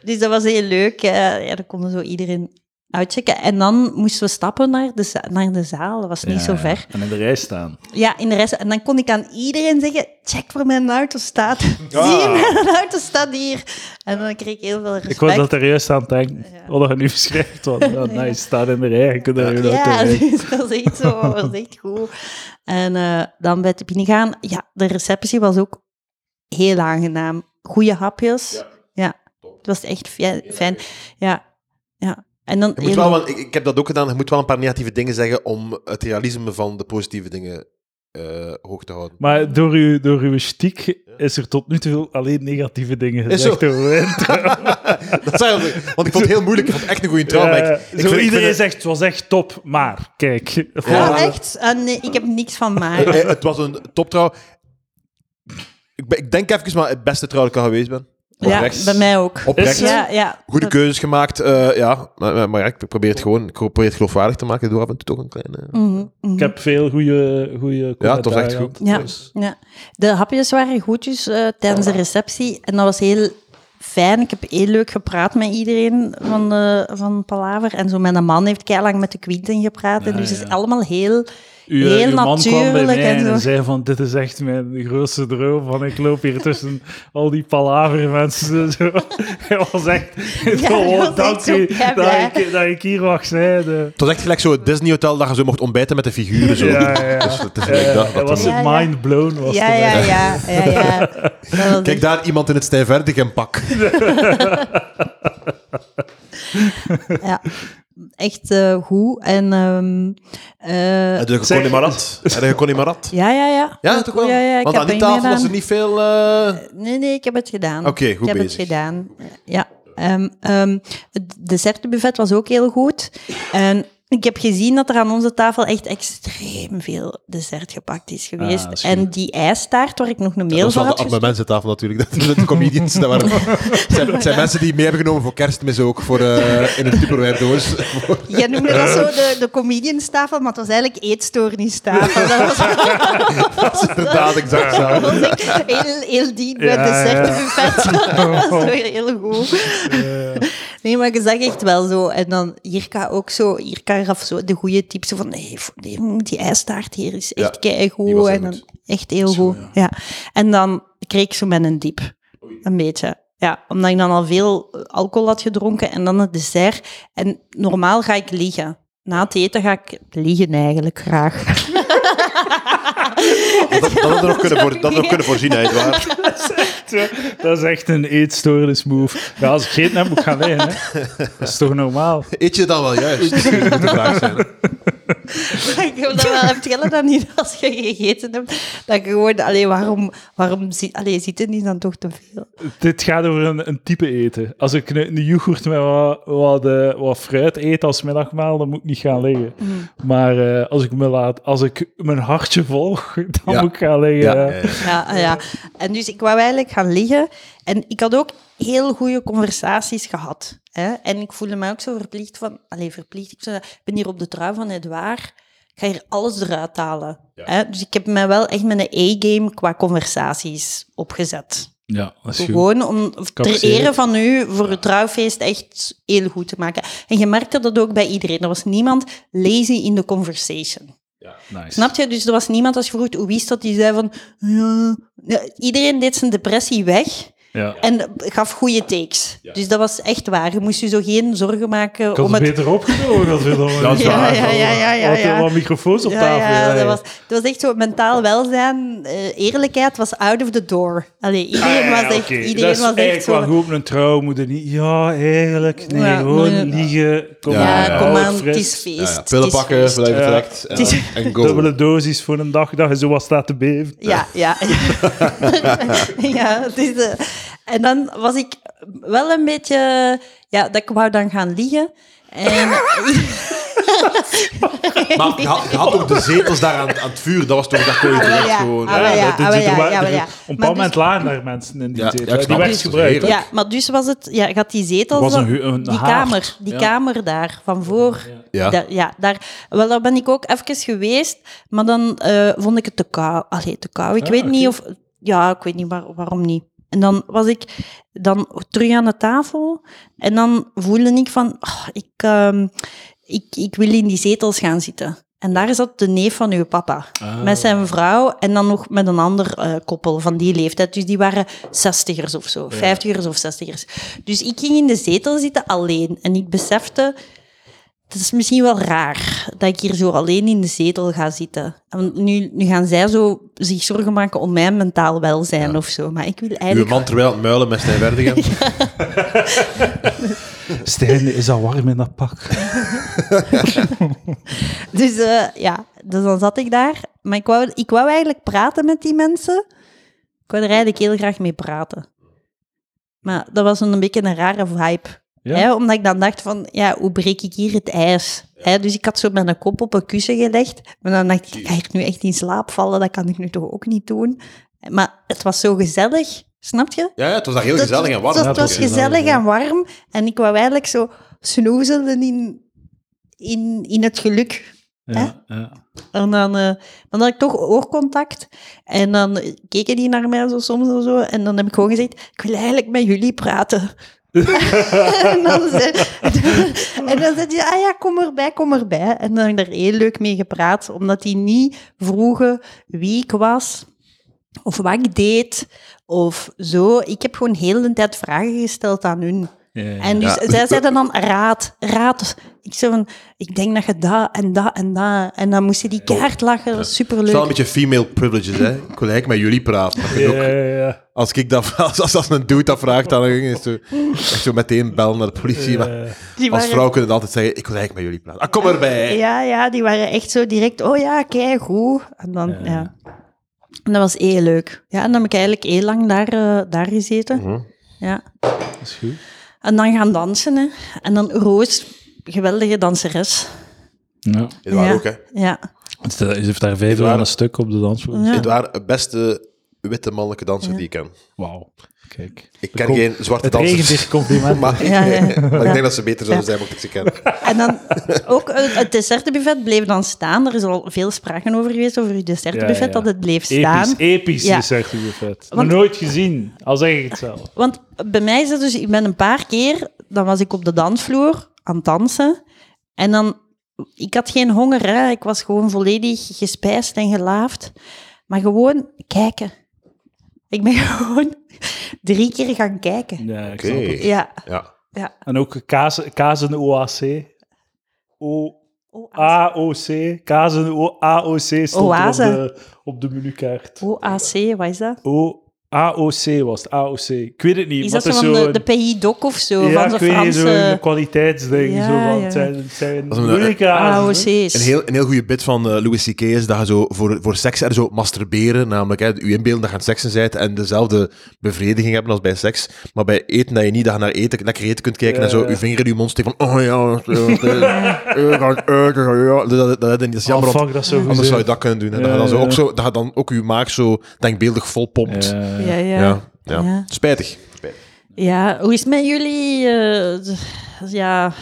A: Dus dat was heel leuk. eh, ja, dan konden zo iedereen uitchecken. En dan moesten we stappen naar de, za- naar de zaal. Dat was niet zo ver.
B: En in de rij staan.
A: Ja, in de rest. En dan kon ik aan iedereen zeggen: check voor mijn auto staat.
C: Ah.
A: Zie, mijn auto staat hier. En dan kreeg ik heel veel respect.
B: Ik was dat er juist aan het denken. Wat dat je nu beschrijft. Want, oh, nice, staan in de rij en kunnen daar je auto
A: Ja,
B: rijden.
A: dus dat was echt zo. Dat was echt goed. En eh, dan bij het binnengaan. Ja, de receptie was ook heel aangenaam. Goeie hapjes. Ja. Het was echt fi- fijn. Ja. ja. En dan
C: Je moet
A: heel-
C: wel, want ik, ik heb dat ook gedaan. Je moet wel een paar negatieve dingen zeggen om het realisme van de positieve dingen eh, hoog te houden.
B: Maar door uw, door uw stiek is er tot nu toe alleen negatieve dingen
C: Is zo.
B: gezegd over mijn trouw.
C: Dat zijn, want ik vond het heel moeilijk. Ik vond het echt een goede trouw. maar ik-
B: Eh,
C: ik
B: zo
C: vind- ik vind
B: iedereen
C: het-
B: zegt, het was echt top, maar kijk.
A: Oh,
C: Ja.
A: echt? Ah, nee, ik heb niks van
C: Eh,
A: maken.
C: eh, het was een toptrouw. Ik, ben- ik denk even, maar het beste trouw dat ik al geweest ben.
A: Ja,
C: Oprecht.
A: bij mij ook.
C: Oprecht.
B: Is-
A: Ja, ja.
C: Goede keuzes gemaakt. eh, ja. maar, maar, maar ja, ik probeer het gewoon ik probeer het geloofwaardig te maken door af en toe toch een kleine...
A: Mhm, mhm.
B: Ik heb veel goede goede
C: Ja, het was echt goed.
A: Ja,
C: Dus-
A: ja. De hapjes waren goedjes eh, tijdens de receptie. En dat was heel fijn. Ik heb heel leuk gepraat met iedereen van, de, van Palaver. En zo mijn man heeft keilang met de Quinten gepraat. en dus het is allemaal heel...
B: Uw, eh,
A: Heel
B: uw man kwam bij
A: natuurlijk en
B: mij en,
A: zo.
B: zei van, dit is echt mijn grootste droom, van ik loop hier tussen al die palavere mensen. en Zo. Hij was echt, gewoon
A: was echt
B: dank
A: zo
B: u
A: kei
B: dat
A: blij.
B: ik, dat ik hier mag zijn. De-
C: Het was echt gelijk zo het Disney Hotel dat je zo mocht ontbijten met de figuren. Zo.
B: Ja, ja, ja.
C: Dus het is gelijk
B: Eh,
C: dat-
B: hij
C: dat
B: was
C: dan-
A: Ja,
B: mind
A: ja.
B: blown. Was
A: Ja,
B: hij.
A: ja, ja. ja, ja. Dat was
C: Kijk daar iemand in het stijfwerdig en pak.
A: echt- ja. Echt eh, goed. En... ehm, eh,
C: De geconnimarat. De geconnimarat.
A: ja, ja, ja.
C: Ja, toch wel?
A: Ja, ja, ik
C: Want
A: heb
C: aan
A: er
C: die tafel was
A: meegedaan.
C: er niet veel... eh,
A: Nee, nee, ik heb het gedaan.
C: Oké, goed
A: Ik heb
C: bezig.
A: het gedaan. Ja. ehm, ehm, het dessertbuffet was ook heel goed. En ik heb gezien dat er aan onze tafel echt extreem veel dessert gepakt is geweest.
B: dat is goed.
A: en die ijstaart, waar ik nog een mail
C: Ah,
A: voor
C: Dat was wel
A: had
C: de
A: gestuurd-
C: abonnemententafel natuurlijk. Dat de comedians. Dat waren, het zijn, het zijn mensen die mee hebben genomen voor kerstmis ook. Voor, eh, in een Tupperware doos.
A: Jij noemde dat zo de, de comedianstafel, maar het was eigenlijk eetstoornistafel. Dat was,
C: Dat is inderdaad exact
A: dat
C: zo.
A: was echt heel, heel diep bij het
B: Ja, Oh.
A: dessertbuffet. Dat was weer heel goed. Nee, maar je zag echt wel zo. En dan Jirka ook zo. Jirka gaf zo de goede tips. zo Van nee, voor- nee, mm, die ijstaart hier is
C: Ja,
A: echt kei
C: die was
A: goed.
C: heel
A: En dan,
C: goed.
A: echt heel goed. Ja. En dan kreeg ik zo met een diep. Een beetje. Ja, omdat ik dan al veel eh, alcohol had gedronken en dan het dessert. En normaal ga ik liggen. Na het eten ga ik liggen eigenlijk graag.
C: Dat, dat hadden we nog kunnen, voor, dat hadden we nog kunnen voorzien, hè, Edouard.
B: Ja, Dat is echt een eetstoornis move. Ja, als ik geen heb, moet ik gaan liggen. Hè. Dat is toch normaal?
C: Eet je dan wel juist? Dat moet de vraag zijn.
A: ik heb dat wel heb jij dat niet als je gegeten hebt. Dat je gewoon, allee, waarom, waarom zi- allee, zit het niet dan toch te veel?
B: Dit gaat over een, een type eten. Als ik een, een yoghurt met wat, wat, eh, wat fruit eet als middagmaal, dan moet ik niet gaan liggen.
A: Mm.
B: Maar eh, als, ik me laat, als ik mijn hartje volg, dan
C: Ja.
B: moet ik gaan liggen.
C: Ja,
B: hè.
C: ja, ja.
A: Ja, ja. En dus ik wou eigenlijk gaan liggen. En ik had ook heel goede conversaties gehad. Hè? En ik voelde me ook zo verplicht van... Allee, verplicht. Ik, zei, ik ben hier op de trui van Edouard. Ik ga hier alles eruit halen. Hè? Dus ik heb mij wel echt met een A-game qua conversaties opgezet.
B: Ja, dat is goed.
A: Gewoon om ter
B: Capseer.
A: ere van u voor het trouwfeest echt heel goed te maken. En je merkte dat ook bij iedereen. Er was niemand lazy in the conversation.
B: Nice.
A: Snap je? Dus er was niemand als je vroeg hoe is dat, die zei van... Ja. Ja, Iedereen deed zijn depressie weg
B: Ja.
A: en gaf goede takes. Dus dat was echt waar. Je moest je zo geen zorgen maken
B: Ik had
A: om
B: het
A: het...
B: beter opgenomen. Dat is,
C: Dat is
A: Ja, waar. ja, ja, ja, ja,
B: Wat,
A: ja.
B: wat microfoons op
A: Ja,
B: tafel.
A: ja, dat
B: hè.
A: was, dat was echt zo mentaal welzijn. eh, eerlijkheid was out of the door. Allee,
B: Ah, ja,
A: iedereen was echt,
B: oké.
A: iedereen
B: dat is
A: was echt
B: eigenlijk
A: zo...
B: wel goed op een trouw, moet er niet... Ja, eigenlijk, nee,
A: Ja,
B: gewoon
A: nee.
B: liegen. Kom
C: Ja,
A: Ja,
B: aan,
C: ja.
A: kom
B: houd
A: aan, het
B: fris.
A: is feest.
C: Ja, ja.
A: het is
C: Pillen pakken,
A: feest.
C: voordat je
B: Ja.
C: vertrekt. En,
A: Het
C: en go.
B: Dubbele dosis voor een dag dat je zo wat staat te beven.
A: Ja, ja. ja, het is, eh, en dan was ik wel een beetje... Ja, dat ik wou dan gaan liegen. En...
C: Maar je had, je had ook de zetels daar aan, aan het vuur. Dat was toch dat kon je
A: Ah, wel,
C: terecht
A: ja.
C: gewoon. eh,
A: Ah, wel, ja.
B: dat- dat-
A: ja,
B: er wa-
A: ja,
B: er-
A: ja.
B: Op een
A: Maar
B: bepaald moment
A: dus-
B: lagen daar mensen in die
C: Ja, ja,
B: zetel.
C: ik
B: die
C: snap
B: werd
C: het.
B: gebruikt. hè.
A: Ja, maar dus was het... Ja, je had die zetel...
B: Was
A: zo-
B: een hu- een
A: die
B: haard,
A: kamer, die
B: ja.
A: kamer daar, van voor.
C: Ja.
A: Daar, ja, daar, wel, daar ben ik ook even geweest, maar dan eh, vond ik het te koud. Allee, te koud. Ik
B: Ah,
A: weet
B: oké.
A: niet of... Ja, ik weet niet waar- waarom niet. En dan was ik dan terug aan de tafel en dan voelde ik van... "Ah, ik, ehm, ik, ik wil in die zetels gaan zitten. En daar zat de neef van uw papa.
B: Ah.
A: Met zijn vrouw en dan nog met een ander eh, koppel van die leeftijd. Dus die waren zestigers of zo. Vijftigers of zestigers. Dus ik ging in de zetel zitten alleen. En ik besefte... Het is misschien wel raar dat ik hier zo alleen in de zetel ga zitten. En nu, nu gaan zij zo zich zorgen maken om mijn mentaal welzijn of zo. Maar ik wil
C: Uw
A: eigenlijk...
C: man terwijl aan het muilen met zijn Verdegem.
B: Stijn is al warm in dat pak.
A: Dus eh, ja, dus dan zat ik daar. Maar ik wou, ik wou eigenlijk praten met die mensen. Ik wou er eigenlijk heel graag mee praten. Maar dat was een beetje een rare vibe.
B: Ja.
A: Hè? Omdat ik dan dacht van, ja, hoe breek ik hier het ijs? Hè? Dus ik had zo mijn kop op een kussen gelegd. Maar dan dacht ik, ik ga ik nu echt in slaap vallen? Dat kan ik nu toch ook niet doen? Maar het was zo gezellig, snap je?
C: Ja, ja, het was daar heel
A: Dat-
C: gezellig en
A: dat-
C: warm.
B: Ja,
A: Het
B: het
A: was
B: was gezellig,
A: gezellig
B: ja.
A: en warm. En ik wou eigenlijk zo snoezelen in, in, in het geluk.
B: Ja, ja.
A: En dan, eh, dan had ik toch oorcontact. En dan keken die naar mij zo soms en zo. En dan heb ik gewoon gezegd, ik wil eigenlijk met jullie praten. en dan zei en dan zei die, ah ja, kom erbij, kom erbij. En dan heb ik daar heel leuk mee gepraat, omdat die niet vroegen wie ik was, of wat ik deed, of zo. Ik heb gewoon heel de tijd vragen gesteld aan hun.
B: Ja, ja.
A: En dus
C: Ja.
A: zij zeiden dan raad, raad. Ik zei van, ik denk dat je dat en dat en dat... En dan moesten die keihard lachen, dat was
C: Het
A: superleuk.
C: is wel een beetje female privileges, hè. Ik wil eigenlijk met jullie praten. Dat kun je
B: Ja,
C: ook-
B: ja, ja.
C: als, ik dat, als, als, als een dude dat vraagt, dan is het zo, echt zo meteen bellen naar de politie. maar
A: Die
C: als
A: waren-
C: vrouw kunnen we altijd zeggen, ik wil eigenlijk met jullie praten. Ah, kom erbij!
A: Ja, ja, die waren echt zo direct, oh ja, kijk goed. En dan, ja. En dat was heel leuk. Ja, en dan heb ik eigenlijk heel lang daar, eh, daar gezeten.
C: Mhm.
A: Ja.
B: Dat is goed.
A: En dan gaan dansen, hè. En dan Roos, geweldige danseres.
B: Ja.
C: Edouard
A: ja.
C: ook, hè.
A: Ja.
B: Dus dat- Ze heeft daar vijf
C: Edouard.
B: jaar een stuk op de dansvloer.
A: Ja.
C: Edouard, de beste witte mannelijke danser die ik ken.
B: Wauw. Kijk.
C: Ik ken
B: Kom-
C: geen zwarte
B: Het regent
C: dansers.
B: hier compliment.
C: Maar,
A: Ja, ja.
C: maar
A: Ja.
C: ik denk dat ze beter zouden zijn mocht ik ze kennen.
A: En dan ook eh, het dessertbuffet bleef dan staan. Er is al veel sprake over geweest, over het dessertbuffet,
B: Ja, ja.
A: dat het bleef staan.
B: Episch, episch
A: Ja.
B: is echt heel vet.
A: Want-
B: Nog nooit gezien, al zeg ik het zelf.
A: Want bij mij is dat dus, ik ben een paar keer, dan was ik op de dansvloer aan het dansen. En dan, ik had geen honger, hè. ik was gewoon volledig gespijsd en gelaafd. Maar gewoon kijken. Ik ben gewoon drie keer gaan kijken.
B: Ja, ik
C: Oké.
B: snap het.
A: Ja,
C: Ja.
A: ja.
B: En ook kazen, kazen OAC. O,
A: O-
B: AOC. Kazen O- AOC stond er op
A: Oase.
B: de, op de menukaart.
A: OAC, wat is dat?
B: O, AOC was het, AOC. Ik weet het niet.
A: Is
B: maar
A: dat zo
B: het
A: van de,
B: een-
A: de PI Doc of zo?
B: ja,
A: van de
B: ik weet niet,
A: Franse
B: zo'n kwaliteitsding.
A: Ja,
B: zo van,
A: ja.
B: het zijn, het zijn
C: Dat is een- eh,
B: moeilijke
A: AOC's.
B: hazen, hè.
C: Een heel, een heel goede bit van eh, Louis C.K. is dat je zo voor, voor seks er zo masturberen, namelijk hè, je inbeelden dat je aan het seksen bent en dezelfde bevrediging hebben als bij seks, maar bij eten dat je niet dat je naar eten, lekker eten kunt kijken en
B: Ja,
C: zo
B: ja.
C: je vinger in je mond steken van oh ja, eh, eh, ik ga het eten, ja. dat, dat, dat, dat is
B: Ah,
C: jammer, want
B: fuck, dat is zo
C: anders zou je
B: gezellig.
C: dat kunnen doen. Hè, dat,
B: Ja,
C: je dan zo
B: ja.
C: ook zo, dat je dan ook je maag zo denkbeeldig vol pompt.
B: Ja.
C: Ja,
A: Ja, ja.
C: ja,
A: Ja.
C: Spijtig.
A: Ja, hoe is het met jullie eh, d- ja,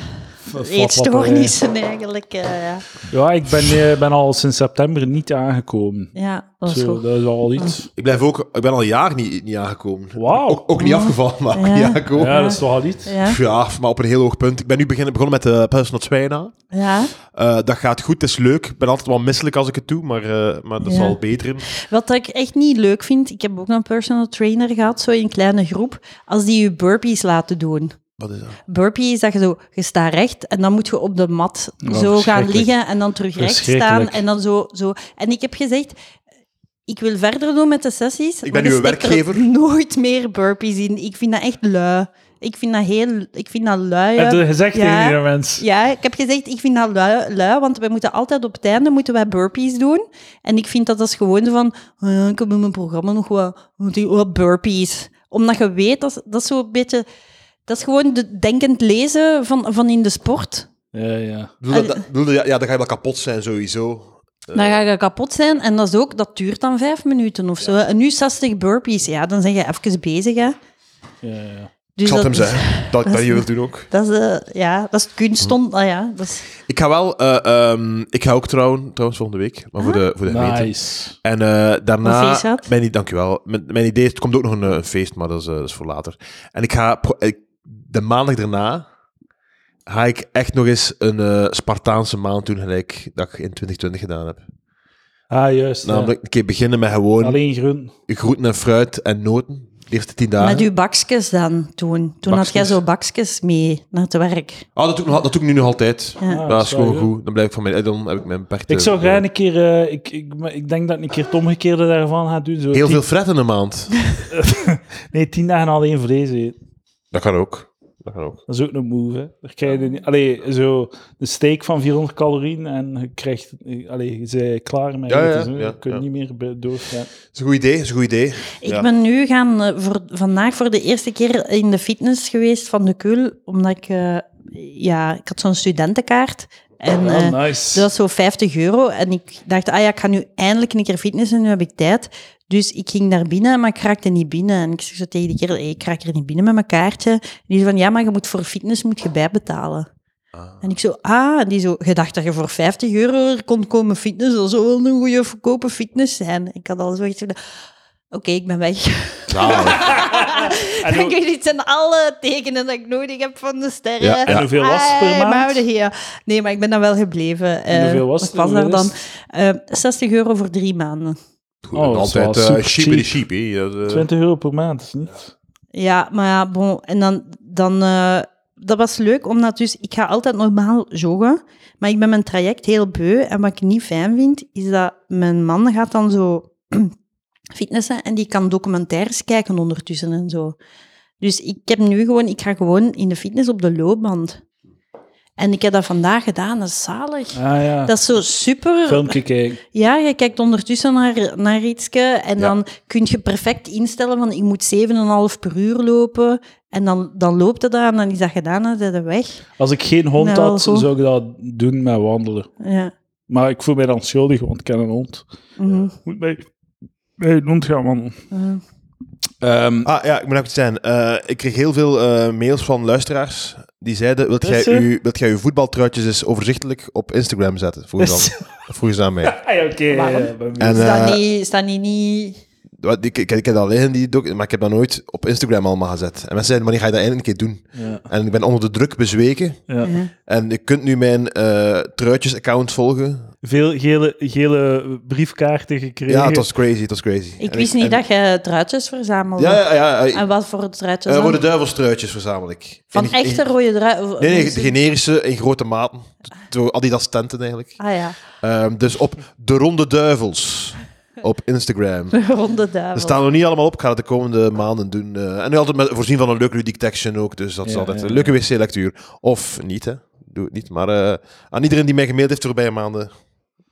A: eetstoornissen eigenlijk? eh, ja.
B: Ja, ik ben, eh, ben al sinds september niet aangekomen.
A: ja, dat is Ah.
B: Zo,
A: goed.
B: dat is al iets.
C: Ik, blijf ook, ik ben al een jaar niet, niet aangekomen.
B: Wauw.
C: Ook, ook niet afgevallen, maar ook
A: Ja.
C: niet aangekomen.
B: Ja, dat is toch al iets.
A: Ja,
C: Ja, maar op een heel hoog punt. Ik ben nu beginnen, begonnen met eh, de personal trainer.
A: ja.
C: Eh, dat gaat goed, het is leuk. Ik ben altijd wel misselijk als ik het doe, maar, eh, maar dat
A: Ja.
C: zal beter in.
A: Wat ik echt niet leuk vind, ik heb ook een personal trainer gehad, zo in een kleine groep, als die je burpees laten doen.
C: Wat is dat?
A: Burpee is dat je zo, je staat recht en dan moet je op de mat zo gaan
B: verschrikkelijk.
A: liggen en dan terug recht staan
B: Verschrikkelijk.
A: en dan zo, zo. En ik heb gezegd, ik wil verder doen met de sessies.
C: Ik ben
A: maar
C: nu
A: je
C: een
A: steekt er
C: werkgever.
A: nooit meer burpees in. Ik vind dat echt lui. Ik vind dat heel, ik vind dat lui.
B: Heb je gezegd
A: Ja.
B: tegen die mens?
A: Ja, ik heb gezegd, ik vind dat lui, lui, want wij moeten altijd op het einde moeten wij burpees doen. En ik vind dat dat is gewoon zo van, oh ja, ik heb in mijn programma nog wat, wat burpees. Omdat je weet, dat, is- dat is zo'n beetje, dat is gewoon de denkend lezen van, van in de sport.
B: Ja, ja.
C: Doe dat, dat- doe dat- ja, ja, dan ga je wel kapot zijn sowieso.
A: Dan ga je kapot zijn en dat, is ook, dat duurt dan vijf minuten of zo. En nu 60 burpees, ja, dan zijn je even bezig. Hè.
B: ja, ja.
A: Dus
C: Ik zal het hem
A: dat is-
C: zeggen, dat ik dat
A: is-
C: niet wil doen ook.
A: Dat is, eh, ja, dat is het kunst. om-
C: Hm.
A: ah ja, dat is,
C: Ik ga wel, eh, ehm, ik ga ook trouwen, trouwens volgende week, maar voor de, voor de gemeente.
B: Nice.
C: En eh,
A: Een
C: daarna,
A: feestdag?
C: mijn, i- dankjewel. Mijn, mijn idee is, er komt ook nog een, eh, een feest, maar dat is, eh, dat is voor later. En ik ga, pro- ik- de maandag daarna, ga ik echt nog eens een eh, Spartaanse maand doen, gelijk dat ik in 2020 gedaan heb.
B: Ah, juist. ja.
C: Namelijk een keer beginnen met gewoon
B: Alleen groen.
C: groenten en fruit en noten. De eerste tien dagen.
A: Met uw bakjes dan toen. Toen had jij
C: Bakjes.
A: zo bakjes mee naar het werk.
C: Oh, dat doe ik, nog, dat doe ik nu nog altijd.
A: Ja.
B: Ah,
C: dat is
B: is wel
C: gewoon
B: goed.
C: goed. Dan blijf ik van mijn, eh, dan heb ik mijn beperkte...
B: Ik zou graag een keer... eh, ik, ik, maar ik denk dat ik een keer het omgekeerde daarvan ga doen. Zo
C: Heel
B: tien-
C: veel fret in een maand.
B: Nee, tien dagen alleen vlees eten.
C: Dat kan ook. Dat kan ook.
B: Dat is ook een move, hè. Daar krijg je niet... Allee, zo een steak van 400 calorieën en je krijgt... Allee, je bent klaar met
C: Ja, ja,
B: eten. zo.
C: ja,
B: je kunt
C: ja.
B: niet meer be- doorgaan.
C: Dat is een goed idee, dat is een goed idee.
A: Ik
C: Ja.
A: ben nu gaan, eh, voor, vandaag voor de eerste keer in de fitness geweest van de Kul, omdat ik, eh, ja, ik had zo'n studentenkaart. En, eh,
B: Ah, nice.
A: Dus dat is zo 50 euro. En ik dacht, ah ja, ik ga nu eindelijk een keer fitnessen, nu heb ik tijd. Dus ik ging daar binnen, maar ik raakte niet binnen. En ik zeg zo tegen die kerel, hey, ik raak er niet binnen met mijn kaartje. En die zei van, ja, maar je moet voor fitness moet je bijbetalen. En ik zo, ah, en die zo, je dacht dat je voor 50 euro er kon komen fitness, dat zou wel een goede goedkope fitness zijn. Ik had al zo echt van, oké, ik ben weg.
C: Zalig.
B: En ook-
A: Dank jullie, het zijn alle tekenen dat ik nodig heb van de sterren.
C: Ja, en
B: Ja. hoeveel was het per
A: Ai,
B: maand?
A: maar oude heer. Nee, maar ik ben dan wel gebleven.
B: En
A: Eh,
B: hoeveel was
A: wat
B: het?
A: was daar
B: Hoeveel
A: dan?
B: is
A: Eh, 60 euro voor drie maanden.
C: Goed,
B: Oh, dat is
C: altijd
B: wel
C: eh
B: super
C: cheap in de
B: cheap.
C: cheap. hè. Dat, eh,
B: 20 euro per maand, is niet?
A: Ja, maar ja, bon. En dan... dan eh, dat was leuk, omdat dus ik ga altijd normaal joggen, maar ik ben mijn traject heel beu. En wat ik niet fijn vind, is dat mijn man gaat dan zo fitnessen en die kan documentaires kijken ondertussen en zo. Dus ik heb nu gewoon, ik ga gewoon in de fitness op de loopband. En ik heb dat vandaag gedaan, dat is zalig.
B: Ah ja,
A: Dat is zo super.
B: filmpje kijken.
A: Ja, je kijkt ondertussen naar, naar iets en
C: Ja.
A: dan kun je perfect instellen van ik moet 7,5 per uur lopen. En dan, dan loopt het daar en dan is dat gedaan en dan is dat weg.
B: Als ik geen hond
A: Nou,
B: had,
A: goed.
B: zou ik dat doen met wandelen.
A: Ja.
B: Maar ik voel mij dan schuldig, want ik heb een hond.
A: Mhm.
B: Ik moet bij, bij een hond gaan wandelen.
A: Ja.
B: Ehm,
C: Ah ja, ik moet even zijn. Eh, ik kreeg heel veel eh, mails van luisteraars die zeiden: Wilt
B: Is
C: jij,
B: zo?
C: uw, wilt jij uw voetbaltruitjes eens overzichtelijk op Instagram zetten? Vroeg
B: Is
C: ze aan, dat vroegen ze aan mij.
B: ah, ja, oké.
C: eh,
B: ja,
A: Waarom?
B: ja, bij mij.
C: En,
A: Is dat
C: eh,
A: niet, is dat niet, niet...
C: wat- ik, ik, ik heb dat liggen, die doc- maar ik heb dat nooit op Instagram allemaal gezet. En mensen zeiden: Wanneer ga je dat eindelijk een keer doen?
B: ja,
C: En ik ben onder de druk bezweken.
B: ja.
A: Ja.
C: En je kunt nu mijn eh truitjes-account volgen.
B: Veel gele, gele briefkaarten gekregen.
C: Ja, het was crazy, het was crazy.
A: Ik
C: En
A: wist niet
C: en-
A: dat je truitjes verzamelde.
C: Ja, ja, ja. ja,
A: En wat voor truitjes
C: eh,
A: dan?
C: rode duivelstruitjes verzamel ik.
A: Van
C: In- in-
A: echte rode druitjes?
C: Nee, nee, de generische in grote maten. Door Adidas tenten eigenlijk.
A: Ah ja,
C: Ehm, dus op De Ronde Duivels op Instagram.
A: ronde duivel.
C: Ze staan nog niet allemaal op. Ik ga het de komende maanden doen. eh, en nu altijd met, voorzien van een leuke ludiek action ook. Dus dat is
B: Ja,
C: altijd
B: ja,
C: een leuke wc-lectuur. Of niet, hè. Doe het niet. Maar eh, aan iedereen die mij gemaild heeft de voorbije maanden,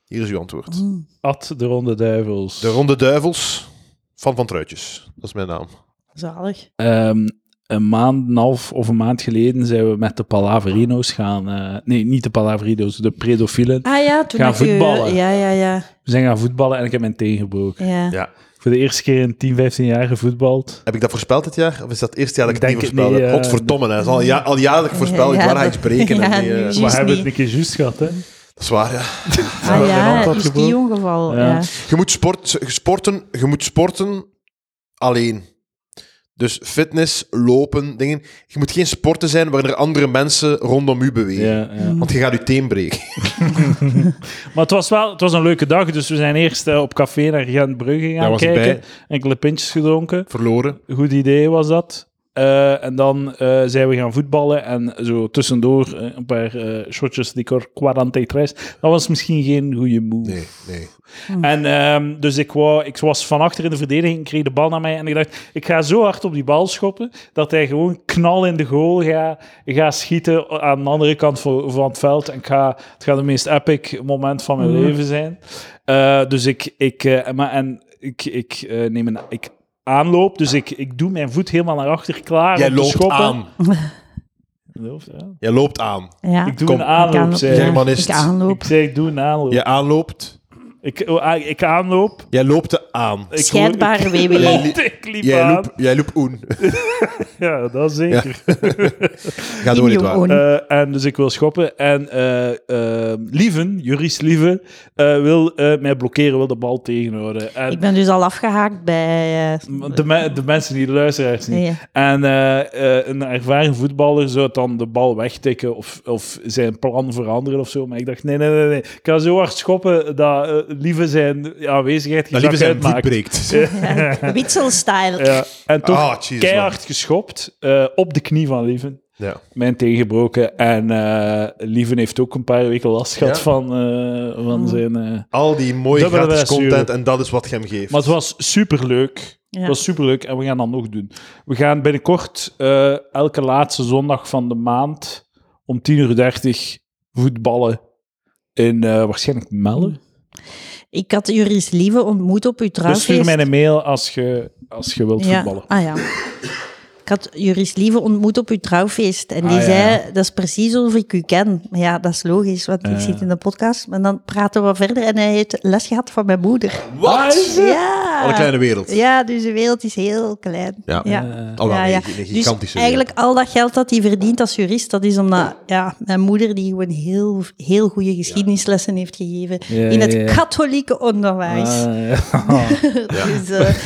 C: hier is uw antwoord.
B: Ad de Ronde Duivels.
C: De Ronde Duivels, van Van Truitjes. Dat is mijn naam.
A: Zalig.
B: Ehm, een maand, en een half of een maand geleden zijn we met de Palaverino's gaan... eh, nee, niet de Palaverino's, de predofielen.
A: Ah ja, toen
B: Gaan
A: dat je-
B: voetballen.
A: Ja, ja, ja.
B: We zijn gaan voetballen en ik heb mijn teen gebroken.
A: ja.
C: Ja.
B: Voor de eerste keer in 10, 15 jaar gevoetbald.
C: Heb ik dat voorspeld dit jaar? Of is dat het eerste jaar dat ik het
B: Ik
C: niet
B: denk het
C: voorspelde?
B: niet, eh.
C: Godverdomme, hè. Dat is al, ja, al jaren dat ik voorspel.
A: Ja,
C: ik
A: ja,
C: waarheidsbreken.
A: dat-
C: en
A: ja,
C: die, eh,
A: nu-
B: Maar
A: Juist
B: hebben we het
A: niet.
B: een keer juist gehad, hè?
C: dat is waar, ja.
A: Ah ja,
B: Ronde
A: uw
B: had gebroken.
A: ski-ongeval.
B: Ja.
A: Ja.
C: Je moet sport, sporten, je moet sporten alleen. Dus fitness, lopen, dingen. Je moet geen sporten zijn waarin er andere mensen rondom u bewegen.
B: Ja, ja.
C: Want je gaat je teen breken.
B: Maar het was wel het was een leuke dag, dus we zijn eerst eh, op café naar Gent Brugge gaan
C: Daar was ik
B: kijken. Enkele pintjes gedronken.
C: Verloren.
B: Goed idee was dat. Eh, en dan eh, zijn we gaan voetballen en zo tussendoor eh, een paar eh, shotjes die cor 43. Dat was misschien geen goede move.
C: Nee, nee.
B: En ehm, dus ik, wou, ik was van achter in de verdediging, ik kreeg de bal naar mij en ik dacht, ik ga zo hard op die bal schoppen dat hij gewoon knal in de goal gaat ga schieten aan de andere kant van, van het veld. En ik ga, het gaat het meest epic moment van mijn leven zijn. Eh, dus ik, ik, eh, maar, en ik, ik eh, neem een... Ik, Aanloop, dus ik, ik doe mijn voet helemaal naar achter klaar.
C: Jij
B: om te
C: loopt
B: schoppen.
C: aan.
B: In het hoofd, ja.
C: Je loopt aan.
A: Ja.
B: Ik doe
C: Kom.
B: een aanloop,
A: kan-
B: zei
A: ja,
B: ik.
C: Germanist.
A: Ik aanloop.
B: Ik zei, ik doe een aanloop.
C: Je aanloopt.
B: Ik, oh, ah, ik aanloop.
C: Jij loopt de aan.
B: Ik
A: Scheidbare
B: hoor-
A: WWE.
B: Ik, ik liep
C: Jij
B: aan.
C: loop, jij loop oen.
B: Ja, dat zeker.
C: Ga door, niet waar.
A: own.
B: Eh, en dus ik wil schoppen. En eh, eh, Lieven, Juris Lieven, eh, wil eh, mij blokkeren, wil de bal tegenhouden. En
A: Ik ben dus al afgehaakt bij... eh,
B: de, me- de mensen die de luisteraars niet.
A: nee, ja.
B: En eh, eh, een ervaren voetballer zou dan de bal wegtikken of, of zijn plan veranderen of zo. Maar ik dacht, nee, nee, nee, nee. Ik ga zo hard schoppen dat eh, Lieve zijn aanwezigheid geen
C: Dat liever
B: zak
C: zijn voet
B: uitmaakt.
C: breekt.
A: Ja, Witselstyle.
B: Ja. En toch
C: Ah, Jesus,
B: keihard geschopt eh, op de knie van Lieven.
C: Ja.
B: Mijn tegengebroken. En eh, Lieven heeft ook een paar weken last gehad
C: Ja.
B: van, eh,
A: Oh.
B: van zijn... eh,
C: Al die mooie
B: Dubbele
C: gratis
B: blessure.
C: content en dat is wat je hem geeft.
B: Maar het was superleuk.
A: Ja.
B: Het was superleuk en we gaan dat nog doen. We gaan binnenkort eh, elke laatste zondag van de maand om 10.30 uur voetballen in eh, waarschijnlijk
A: Mm.
B: Melle.
A: Ik had Juris Lieve ontmoet op uw
B: Dus
A: trouwfeest.
B: stuur mij een mail als je, als je wilt voetballen.
A: Ah ja. Ik had Juris Lieve ontmoet op uw trouwfeest. En die
B: Ah, ja,
A: zei,
B: ja.
A: dat is precies alsof ik u ken. Maar ja, dat is logisch, want
B: Ja.
A: ik zit in de podcast. Maar dan praten we verder en hij heeft les gehad van mijn moeder.
B: Ah, is
C: Wat?
B: het?
A: Ja.
C: Wat een kleine wereld.
A: Ja, dus de wereld is heel klein.
C: Ja. Al wel, een een
A: Dus
C: gigantische wereld.
A: eigenlijk al dat geld dat hij verdient als jurist, dat is omdat ja, mijn moeder die gewoon heel, heel goede geschiedenislessen heeft gegeven
B: Ja,
A: in het
B: ja, ja.
A: katholieke onderwijs.
B: Ah, ja.
A: Dus, eh,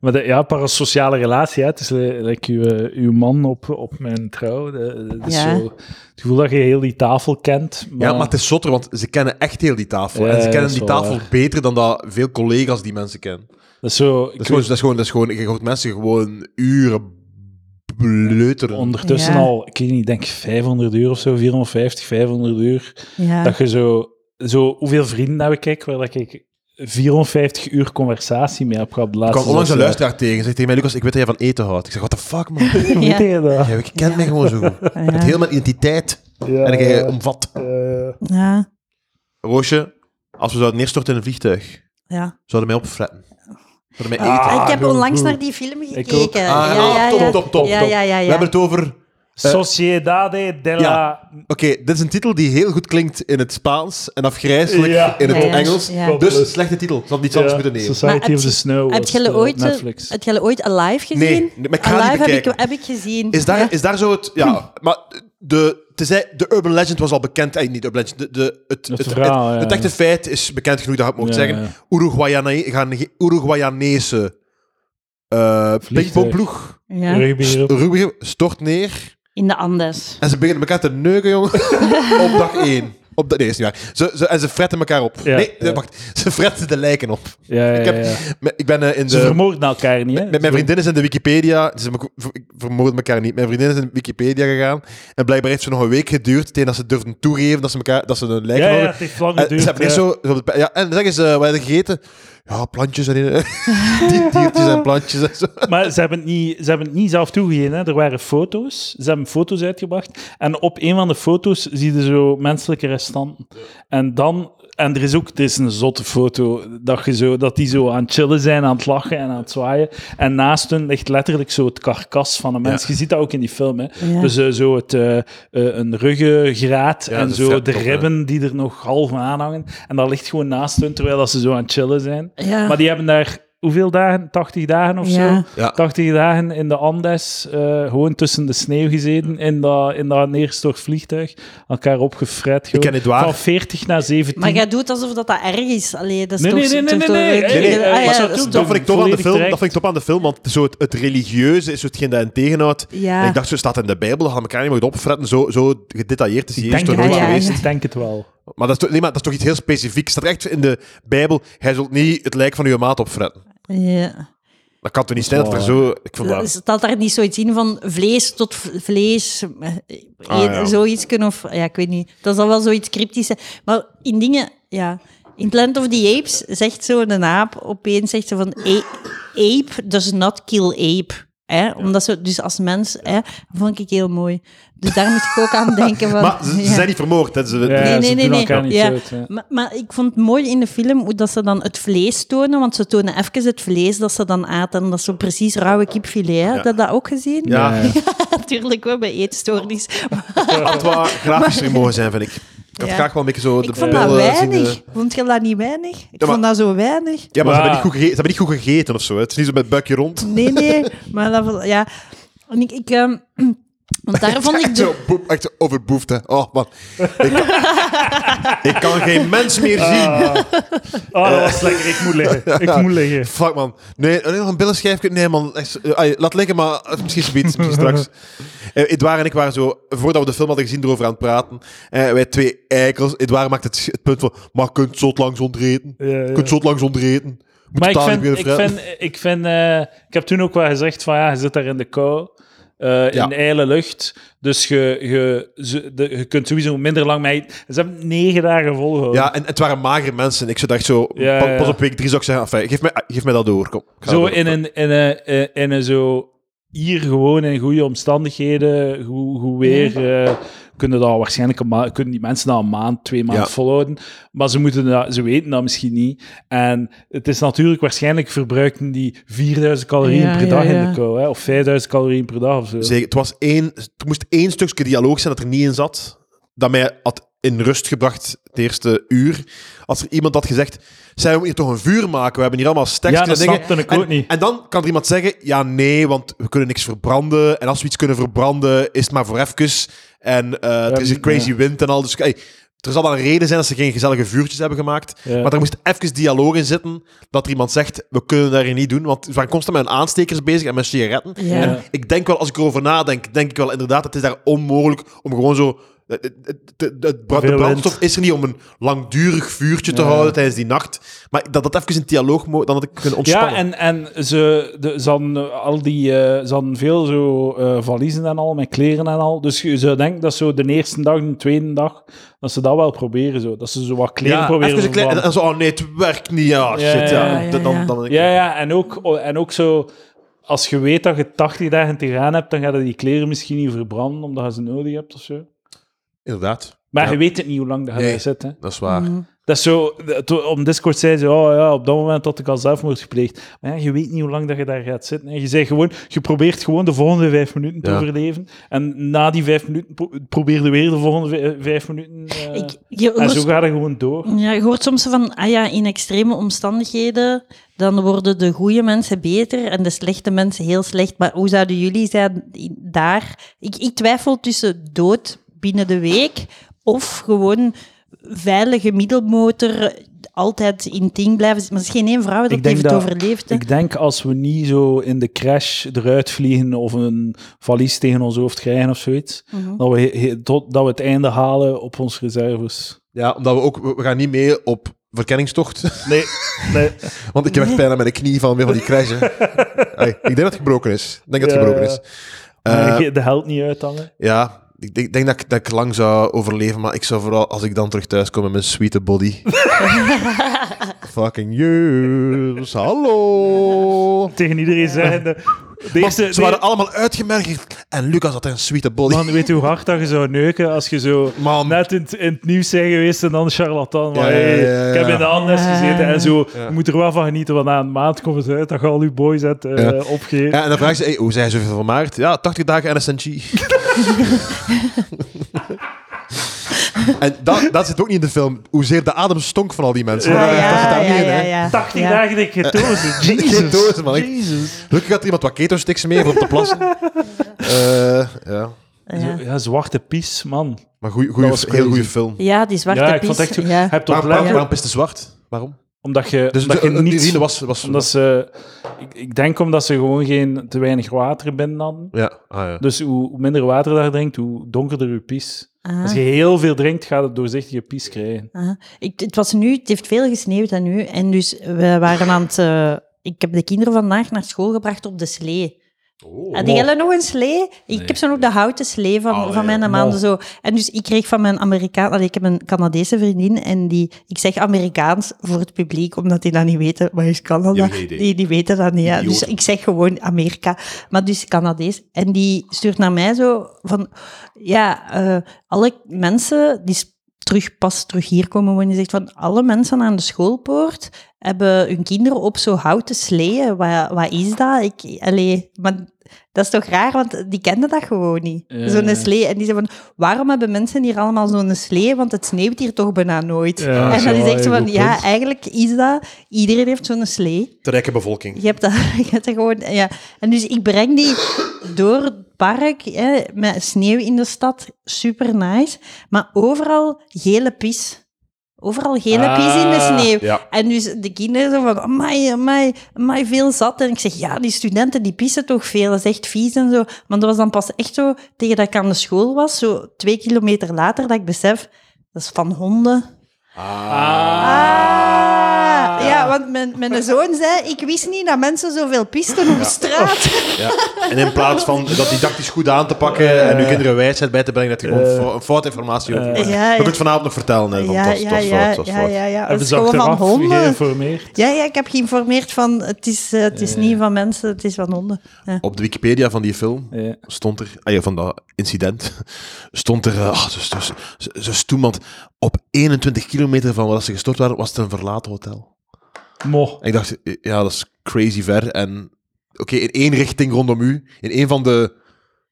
B: maar de, ja, parasociale relatie, hè. het is eh, like uw, eh, uw man op, op mijn trouw. De- de- dus
A: Ja.
B: zo, het gevoel dat je heel die tafel kent. Maar,
C: Ja, maar het is zotter, want ze kennen echt heel die tafel.
B: Ja,
C: en ze
B: ja,
C: kennen
B: dat is
C: die
B: wel
C: tafel beter dan dat veel collega's die mensen kennen. Dat
B: dat is zo, ik
C: is gewoon, dat is gewoon, dat is gewoon je hoort mensen gewoon uren bleuteren.
B: Ondertussen
A: Ja.
B: al, ik weet niet, ik denk 500 uur of zo, 450, 500 uur.
A: ja.
B: Dat je zo, zo, hoeveel vrienden heb ik, kijk, waar dat ik 450 uur conversatie mee heb gehad de
C: ik
B: laatste
C: kwam onlangs een
B: zes jaar.
C: luisteraar tegen. Zegt tegen mij, Lucas, ik weet dat jij van eten houdt. Ik zeg, what the fuck, man? Jij
B: Hoe
A: Ja.
B: weet je dat?
C: kent mij gewoon zo goed.
A: Ja.
C: Met heel mijn identiteit.
B: Ja,
C: En jij
B: ja,
C: omvat.
B: eh,
A: ja,
C: Roosje, als we zouden neerstorten in een vliegtuig,
A: ja.
C: zouden mij opfretten. Zouden mij
B: Ah,
C: eten.
A: ik heb
B: heel
A: onlangs
B: goed.
A: naar die film
B: ook.
A: gekeken.
C: Ah,
A: ja,
C: ja,
A: ja,
C: top,
A: ja.
C: top, top,
A: Ja,
C: top.
A: ja, ja,
C: We
A: ja.
C: hebben het over
B: Eh, Sociedade de la...
C: ja. Oké, dit is een titel die heel goed klinkt in het Spaans en afgrijzelijk
B: Ja.
C: in het
A: Ja, ja.
C: Engels.
A: Ja.
C: Dus slechte titel. Ze hadden iets anders
B: Ja,
C: moeten nemen.
A: Maar
B: Society
A: heb
B: of the
A: je-
B: Snow
A: Heb
B: was,
A: jij
B: eh,
A: ooit,
B: Netflix.
A: heb jij ooit Alive gezien?
C: Nee, nee, maar ik ga het
A: Alive
C: niet
A: heb ik,
C: bekijken.
A: heb ik gezien.
C: Is daar,
A: Ja. Hm.
C: is daar zo het... Ja, maar de, tenzij, de urban legend was al bekend. Eh, niet urban legend. De, de, het, het,
B: verhaal,
C: het-
B: ja.
C: het echte feit is bekend genoeg dat je het mocht
B: Ja,
C: zeggen.
B: ja.
C: Uruguayane- gaan- Uruguayanese eh pingpongploeg
A: Ja.
B: Rugby erop.
C: Ruby stort neer
A: In de Andes.
C: en ze beginnen elkaar te neuken, jongen. op dag één. Op de, nee, is niet waar. Ze, ze, en ze fretten elkaar op.
B: Ja,
C: nee,
B: ja.
C: wacht. Ze fretten de lijken op.
B: Ja, ja,
C: Ik, heb,
B: ja.
C: me- ik ben eh, in de...
B: Ze vermoorden elkaar niet, hè?
C: Met mijn vriendin is in de Wikipedia. Ze vermoorden elkaar niet. Mijn vriendin is in de Wikipedia gegaan. En blijkbaar heeft ze nog een week geduurd. Tegen dat ze durfden toegeven dat ze, elkaar, dat ze een lijk
B: Ja, ja,
C: hadden.
B: het heeft lang
C: En
B: geduurd.
C: Eh, ze hebben eerst
B: ja.
C: zo, zo op de pe- ja, en dan zeggen ze, wat hebben gegeten? Ja, plantjes en die- diertjes en plantjes en zo.
B: Maar ze hebben, het niet, ze hebben het niet zelf toegegeven. Hè. Er waren foto's. Ze hebben foto's uitgebracht. En op een van de foto's zie je zo menselijke restanten. En dan... En er is ook... Het is een zotte foto. Dat, je zo, dat die zo aan het chillen zijn, aan het lachen en aan het zwaaien. En naast hun ligt letterlijk zo het karkas van een mens.
C: Ja.
B: Je ziet dat ook in die film, hè.
A: Ja.
B: Dus eh, zo het, eh, eh, een ruggengraat
C: Ja,
B: en
C: dat is
B: zo
C: vet
B: de
C: top, hè.
B: ribben die er nog half aan hangen. En dat ligt gewoon naast hun, terwijl dat ze zo aan het chillen zijn.
A: Ja.
B: Maar die hebben daar... Hoeveel dagen? 80 dagen of
A: Ja.
B: zo?
C: Ja.
B: 80 dagen in de Andes, eh, gewoon tussen de sneeuw gezeten, in dat, in dat neerstort vliegtuig, elkaar opgefret. gewoon.
C: ken het waar.
B: Van 40 naar 17.
A: Maar jij doet alsof dat, dat erg is. Allee, dat is
B: Nee,
A: toch
B: nee, nee, nee,
A: toch-
B: nee, nee,
A: toch-
B: nee, nee,
A: Ah,
C: eh,
B: nee,
A: ja,
B: maar zo
A: dat is
B: doen.
A: toch-
C: Dat vond ik top aan de
B: Volledig
C: film. Dat
B: terecht.
C: vind ik top aan de film, want zo het, het religieuze is zo hetgeen dat hen tegenhoudt.
A: Ja.
C: En ik dacht, zo staat in de Bijbel, dat gaan elkaar niet mogen opfretten. Zo, zo gedetailleerd is
B: ik
C: die
B: denk,
C: eerste
A: toch
B: het
C: nooit
A: ja,
B: wel.
A: ja.
C: geweest.
B: ik denk het wel.
C: Maar dat, is toch, nee, maar dat is toch iets heel specifieks. Staat er echt in de Bijbel, hij zult niet het lijk van uw maat opfretten.
A: Ja.
C: Dat kan toch niet zijn dat er
B: Dat is
C: zo... Ik vond dat...
A: Staat daar niet zoiets in van vlees tot v- vlees? eh,
C: Ah, ja.
A: Zoiets kunnen of... Ja, ik weet niet. Dat is dan wel zoiets cryptisch. hè. Maar in dingen... Ja. In Planet of the Apes zegt zo'n aap opeens zegt ze van... "A- Ape does not kill ape. Hè? Omdat ze, dus als mens, hè, vond ik heel mooi. Dus daar moet ik ook aan denken. Van,
C: Maar ze, ze
A: ja.
C: zijn niet vermoord. Hè. Ze,
B: Ja,
A: nee,
B: ze
A: nee,
B: doen
A: nee.
B: elkaar niet
A: Ja.
B: dood, ja.
A: Maar, maar ik vond het mooi in de film hoe dat ze dan het vlees tonen, want ze tonen even het vlees dat ze dan aten. Dat is zo precies rauwe kipfilet. Hè? Heb je dat ook gezien?
C: Ja,
B: Ja, ja.
A: Natuurlijk, we hebben eetstoornis.
C: het waar grafischer mogen zijn, vind ik. Ik had
A: Ja.
C: graag wel een beetje zo de
A: ik vond dat
C: beelden zien,
A: weinig.
C: eh.
A: Vond je dat niet weinig? Ik
C: maar-
A: vond dat zo weinig.
C: Ja, maar ze
B: Ja.
C: hebben, niet goed gege- ze hebben niet goed gegeten of zo. Hè. Het is niet zo met buikje rond.
A: Nee, nee. Maar dat was... Ja. En ik... ik ehm, want daar vond ik...
C: Echt
A: de-
C: zo, boep, echt zo overboefd, hè. Oh, man. Ik, ik kan geen mens meer zien. Eh.
B: Oh, dat was lekker. Ik moet liggen. Ik moet liggen.
C: Fuck, man. Nee, alleen nog een billenschijfje? Nee, man. Echt, eh, ai, laat liggen, maar eh, misschien zoiets, misschien straks. Eh, Edouard en ik waren zo, voordat we de film hadden gezien, erover aan het praten. Eh, wij twee eikels. Edouard maakt het, het punt van, maar kunt zot langs ondereten.
B: Ja, ja.
C: Kunt zot langs ondereten. Moet
B: Maar ik
C: totaal
B: vind,
C: niet
B: ik
C: beginnen
B: vind, ik vind, eh, ik heb toen ook wel gezegd van ja, je zit daar in de kou, eh,
C: Ja.
B: in de ijle lucht, dus je, je, ze- de- je kunt sowieso minder lang mee. Ze hebben negen dagen volgehouden.
C: Ja, en het waren magere mensen. Ik zou dacht zo,
B: Ja,
C: pa-
B: ja.
C: pas op week drie zou ik zeggen, enfin, geef, mij, ah, geef mij dat door, kom. Ik ga
B: zo
C: dat door.
B: in een, in een, eh, in een zo hier gewoon in goede omstandigheden, goed, goed weer. eh, kunnen dat waarschijnlijk een ma- kunnen die mensen dat een maand, twee maanden
C: Ja.
B: volhouden. Maar ze, moeten dat, ze weten dat misschien niet. En het is natuurlijk waarschijnlijk verbruikten die 4000 calorieën
A: Ja,
B: per
A: ja,
B: dag in
A: ja.
B: de kou. Hè? Of 5000 calorieën per dag of zo.
C: Zeker, het was één, er moest één stukje dialoog zijn dat er niet in zat. Dat mij had in rust gebracht het eerste uur. Als er iemand had gezegd, zij we hier toch een vuur maken? We hebben hier allemaal stekst
B: Ja,
C: en
B: dat
C: dingen.
B: snapte ik
C: en,
B: ook niet.
C: En dan kan er iemand zeggen, ja nee, want we kunnen niks verbranden. En als we iets kunnen verbranden, is het maar voor even. En eh er is een crazy
B: ja.
C: wind en al. Dus hey, er zal wel een reden zijn dat ze geen gezellige vuurtjes hebben gemaakt.
B: Ja.
C: Maar er moest even dialoog in zitten dat er iemand zegt, we kunnen daar hier niet doen. Want we zijn constant met hun aanstekers bezig en met sigaretten.
A: Ja.
B: Ja.
C: Ik denk wel, als ik erover nadenk, denk ik wel inderdaad, het is daar onmogelijk om gewoon zo... het- het- het- het- het bra- De
B: Veel
C: brandstof
B: wind.
C: is er niet om een langdurig vuurtje te
B: Ja.
C: houden tijdens die nacht. Maar dat dat even in dialoog mo- dan had ik kunnen ontspannen.
B: Ja, en, en ze, de, ze hadden eh, al die, eh, ze hadden veel zo eh, valiezen en al, met kleren en al. Dus je zou denken dat zo de eerste dag, de tweede dag, dat ze dat wel proberen zo. Dat ze zo wat kleren
C: Ja,
B: proberen
C: even
B: te
C: een klein- en
B: vervangen.
C: dan zo, oh nee, het werkt niet. Ja, shit.
B: Ja,
C: Ja,
B: ja, ja,
A: ja.
C: Dan, dan, dan-
B: Ja, ja, en ook, oh, en ook zo... Als je weet dat je 80 dagen te gaan hebt, dan ga je die kleren misschien niet verbranden, omdat je ze nodig hebt of zo.
C: Inderdaad.
B: Maar
C: Ja.
B: je weet het niet hoe lang dat je
C: Nee.
B: daar zit, hè.
C: Dat is waar.
B: Dat is zo... de- to- Op Discord zei ze, oh ja, op dat moment had ik al zelfmoord gepleegd. Maar ja, je weet niet hoe lang dat je daar gaat zitten. En je zegt gewoon... Je probeert gewoon de volgende vijf minuten te
C: Ja.
B: overleven. En na die vijf minuten pro- probeer je weer de volgende vij- vijf minuten... eh,
A: Ik, je,
B: en
A: hoort-
B: zo gaat het gewoon door.
A: ja, je hoort soms van, ah ja, in extreme omstandigheden, dan worden de goede mensen beter en de slechte mensen heel slecht. Maar hoe zouden jullie zijn in- daar? Ik, ik twijfel tussen dood binnen de week of gewoon veilige middelmotor, altijd in het ding blijven zitten. Maar er is geen één vrouw dat
B: Ik denk
A: heeft
B: dat-
A: overleefd. hè.
B: Ik denk als we niet zo in de crash eruit vliegen of een valies tegen ons hoofd krijgen of zoiets,
A: Mhm.
B: dat, we, he- he- tot, dat we het einde halen op onze reserves.
C: Ja, omdat we ook... We we gaan niet mee op verkenningstocht.
B: Nee, nee.
C: Want ik heb echt pijn aan mijn knie van, weer van die crash. hè. Hey, ik denk dat het gebroken is. Ik denk dat het
B: Ja,
C: gebroken
B: ja.
C: is. Eh,
B: de held niet uithangen.
C: Ja, ik denk, ik denk dat, ik, dat ik lang zou overleven, maar ik zou vooral als ik dan terug thuis kom met mijn sweete body. Fucking yes, hallo.
B: Tegen iedereen zeggen. De, de
C: Want
B: eerste,
C: ze waren allemaal uitgemergeld en Lucas had een sweete body.
B: man, weet je hoe hard dat je zou neuken als je zo
C: Man.
B: net in, het- in het nieuws zijn geweest en dan charlatan. Maar
C: Ja, ja,
B: hey,
C: ja, ja,
B: ik heb
C: ja.
B: in de anders
A: Ja.
B: gezeten en zo.
C: Ja.
B: Je moet er wel van genieten, want na een maand komt het uit dat je al je boys hebt eh
C: Ja.
B: opgegeven.
C: Ja, en dan vraag ze, hey, hoe zijn ze zoveel van maart? Ja, 80 dagen NSNG. en dat, dat zit ook niet in de film. Hoezeer de adem stonk van al die mensen.
A: Ah,
C: Dat zit daar niet in, hè.
B: 80
A: Ja.
B: dagen dat ik getozen.
C: Geen
B: Jesus.
C: dozen, man. Ik-
B: Jesus.
C: Gelukkig had er iemand wat keto-sticks mee voor op de plassen. Eh, ja.
A: Ja.
B: Zo- Ja, Zwarte Pies, man.
C: Maar goeie,
B: Dat was
C: goeie, heel
B: crazy.
C: goede film.
A: Ja, die zwarte
B: ja, ik
A: pies,
B: vond het echt...
A: ja.
B: Je hebt toch
C: Waarom,
B: gelijk,
C: waarom, waarom is het zwart? Waarom?
B: Omdat je,
C: Dus
B: omdat
C: de,
B: je niet...
C: urine was... was
B: Omdat ze, ik, ik denk omdat ze gewoon geen, te weinig water binnen hadden.
C: ja, ah, ja.
B: Dus hoe, hoe minder water dat je drinkt, hoe donkerder je pies.
A: Ah.
B: Als je heel veel drinkt, gaat het doorzichtige pies krijgen.
A: Ah, ik, het was nu, het heeft veel gesneeuwd en nu. En dus we waren aan het. eh, ik heb de kinderen vandaag naar school gebracht op de slee.
C: Oh.
A: Had jij nog een slee? Ik heb zo nog de houten slee van,
B: Allee,
A: van mijn
B: man.
A: man. Zo. En dus ik kreeg van mijn Amerikaan... Allee, ik heb een Canadese vriendin en die... Ik zeg Amerikaans voor het publiek, omdat die dat niet weten. Maar is
D: Die
A: Canada?
D: hebben geen idee.
A: Die, die weten dat niet. Ja. Dus
D: Idioten.
A: ik zeg gewoon Amerika. Maar dus Canadees. En die stuurt naar mij zo van... Ja, eh, alle mensen die s- terug, pas terug hier komen wonen, die zegt van... Alle mensen aan de schoolpoort hebben hun kinderen op zo houten sleeën. Wat, wat is dat? Ik, allee, maar dat is toch raar, want die kenden dat gewoon niet.
B: Ja.
A: Zo'n slee. En die zeiden van, waarom hebben mensen hier allemaal zo'n slee? Want het sneeuwt hier toch bijna nooit.
B: Ja,
A: en
B: dat
A: dan
B: is
A: is
B: wel
A: echt zo
B: een
A: van,
B: goed
A: ja,
B: punt.
A: eigenlijk is dat... Iedereen heeft zo'n slee.
C: De rijke bevolking.
A: Je hebt dat, je hebt dat gewoon... Ja. En dus ik breng die door het park, hè, met sneeuw in de stad. Super nice. Maar overal gele pis. Overal gele
B: Ah,
A: pis in de sneeuw.
C: ja.
A: En dus de kinderen zo van, amai, amai, amai, veel zat. En ik zeg, ja, die studenten die pissen toch veel, dat is echt vies en zo. Maar dat was dan pas echt zo, tegen dat ik aan de school was, zo twee kilometer later, dat ik besef, dat is van honden. Ah, ja, want mijn, mijn zoon zei, ik wist niet dat mensen zoveel pisten op straat.
C: Ja. Eh. En in plaats van dat didactisch goed aan te pakken en uw kinderen wijsheid bij te brengen, dat je gewoon fo- een fout informatie over
A: Ja, ja.
C: Je kunt het vanavond nog vertellen. Hè, van,
A: Ja,
C: Oh, dat is-
A: ja,
C: dat is
A: ja,
C: fout, dat is
A: ja,
C: fout.
A: ja, ja. Dat
B: Hebben
A: is
B: ze
A: gewoon van
B: achteraf
A: honden.
B: geïnformeerd?
A: Ja, ja, ik heb geïnformeerd van, het is, eh, het is niet van mensen, het is van honden. Ja.
C: Op de Wikipedia van die film
B: Ja.
C: stond er, ah ja, van dat incident, stond er, ah, zo, zo, zo, zo stoemend, op 21 kilometer van waar ze gestort waren, was het een verlaten hotel.
B: Mo.
C: En ik dacht, eh, ja, dat is crazy ver. En oké, in één richting rondom u, in één van de,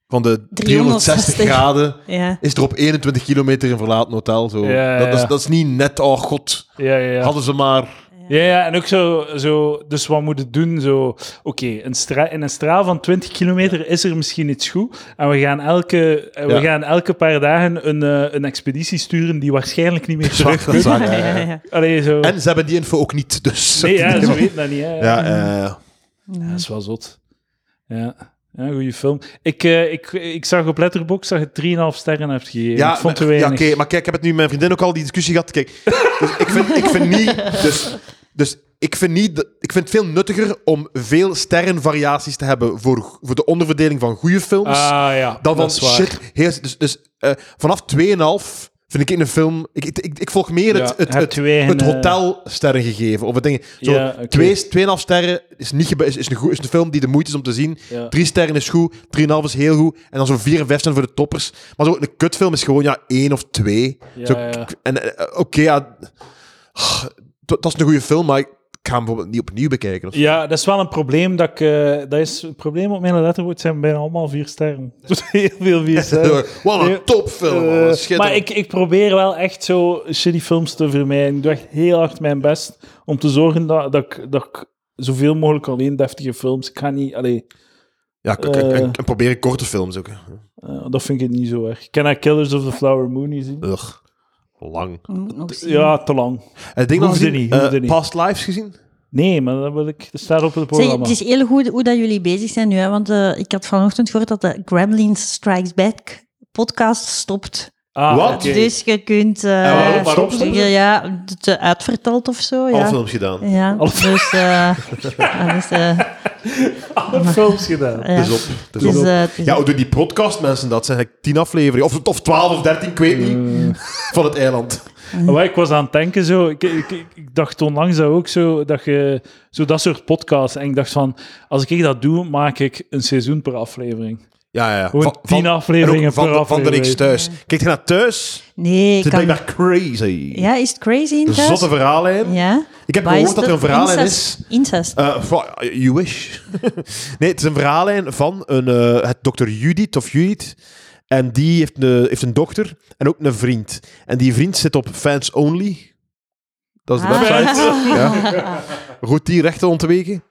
C: van de 360
A: 360
C: graden,
A: Ja.
C: is er op 21 kilometer een verlaten hotel. Zo.
B: Ja,
C: Dat, dat,
B: ja.
C: is, dat is niet net, oh god,
B: Ja, ja, ja.
C: hadden ze maar...
B: Ja, ja, en ook zo, zo, dus wat moet het doen? Zo, oké, een stra- in een straal van 20 kilometer is er misschien iets goed. En we gaan elke, en we
C: Ja.
B: gaan elke paar dagen een, eh, een expeditie sturen die waarschijnlijk niet meer terug
C: Dat is waar, ja, ja.
A: Ja, ja.
B: Allee, zo.
C: En ze hebben die info ook niet, dus...
B: nee, ja, ze weten dat niet. Hè.
C: Ja, eh,
B: Ja, Dat is wel zot. Ja, ja goede film. Ik, eh, ik, ik zag op Letterboxd dat je 3,5 sterren hebt gegeven.
C: Ja,
B: ik vond er
C: maar- ja,
B: weinig.
C: oké, maar kijk, ik heb het nu met mijn vriendin ook al die discussie gehad. Kijk, dus ik vind, ik vind niet... Dus, dus ik vind, niet, dat- ik vind het veel nuttiger om veel sterrenvariaties te hebben voor, voor de onderverdeling van goede films,
B: Ah ja,
C: dan van
B: dat is waar.
C: shit. Heel, dus dus eh, vanaf 2,5 vind ik een film... Ik, ik, ik, ik volg meer het,
B: Ja,
C: het,
B: heb
C: het,
B: twee en,
C: het
B: eh,
C: hotel sterren gegeven. Of het ding. Zo,
B: Ja, oké.
C: twee, 2,5 sterren is, niet, gebe- is, is, een goe- is een film die de moeite is om te zien.
B: Ja.
C: Drie sterren is goed, 3,5 is heel goed. En dan zo'n 4 en 5 zijn voor de toppers. Maar zo'n kutfilm is gewoon ja, één of twee.
B: Ja,
C: Zo,
B: ja.
C: k- En eh, oké, ja. ah, Dat dat is een goede film, maar ik ga hem bijvoorbeeld niet opnieuw bekijken. of zo.
B: Ja, dat is wel een probleem. Dat, ik, eh, dat is een probleem op mijn letterboard. zijn bijna allemaal vier sterren. Heel veel vier sterren.
C: Wat
B: Ja.
C: een topfilm, man.
B: Eh,
C: Wat schitterend.
B: maar ik, ik probeer wel echt zo shitty films te vermijden. Ik doe echt heel hard mijn best om te zorgen dat, dat, ik, dat ik zoveel mogelijk alleen deftige films... Ik ga niet... Allee,
C: ja, k- k- en-
B: eh.
C: en proberen korte films ook. hè.
B: eh, dat vind ik niet zo erg. Ik ken dat Killers of the Flower Moon niet zien.
C: Ugh. Lang. Eh,
A: Je moet nog zien.
B: Ja, te lang.
C: Het ding nog
B: Hoefde
C: gezien,
B: niet, hoefde
C: eh,
B: niet.
C: Past Lives gezien?
B: Nee, maar dat wil ik... Dat staat op het
A: Zeg,
B: programma.
A: het is heel goed hoe dat jullie bezig zijn nu, hè? want eh, ik had vanochtend gehoord dat de Gremlins Strikes Back podcast stopt.
B: Ah,
C: Wat?
B: oké.
A: Dus je kunt... eh,
C: waarom- waarom
B: stopt het?
A: ja, ja, het eh, uitverteld of zo.
C: Alle
A: Ja,
C: films gedaan.
A: ja
B: Alle-
A: dus... eh, ja, dus, eh,
B: Alle films gedaan.
A: ja.
C: Dus op. Dus
A: Dus,
C: op.
A: eh, het is-
C: Ja, hoe doen die podcast mensen dat? Zijn eigenlijk tien afleveringen. Of, of twaalf of dertien, ik weet niet. Van het eiland.
B: Maar ik was aan het denken zo. Ik, ik, ik, ik dacht onlangs dat ook zo dat je zo dat soort podcasts. En ik dacht van, als ik dat doe, maak ik een seizoen per aflevering.
C: Ja, ja.
B: Gewoon tien afleveringen
C: en ook van,
B: per
C: de- van de
B: aflevering.
C: reeks thuis. Kijk je naar thuis?
A: dus- nee,
C: Het
A: ik
C: is
A: kan...
C: blijkbaar crazy.
A: Ja, is het crazy in
C: Een
A: thuis?
C: zotte verhaallijn.
A: Ja.
C: Ik heb
A: Waar
C: gehoord
A: is
C: dat er een
A: dat?
C: verhaallijn
A: Incest.
C: is.
A: Incest.
C: Eh, van- you wish. nee, het is een verhaallijn van een, eh, het dokter Judith of Judith. En die heeft een, heeft een dochter en ook een vriend. En die vriend zit op Fans Only. Dat is de
A: Ah.
C: website. Ja. Goed die rechten ontweken.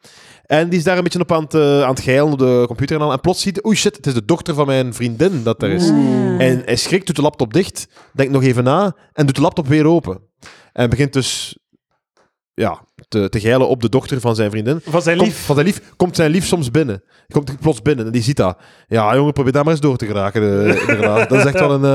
C: En die is daar een beetje op aan het, eh, aan het geilen op de computer. En, al. en plots ziet hij, oei shit, het is de dochter van mijn vriendin dat er is.
B: Mhm.
A: Ah.
C: En hij schrikt, doet de laptop dicht, denkt nog even na en doet de laptop weer open. En begint dus ja, te, te geilen op de dochter van zijn vriendin.
B: Van zijn
C: Komt,
B: lief.
C: van zijn lief komt zijn lief soms binnen. Komt plots binnen en die ziet dat. Ja, jongen, probeer daar maar eens door te geraken. eh, in de relatie. dat is echt wel een,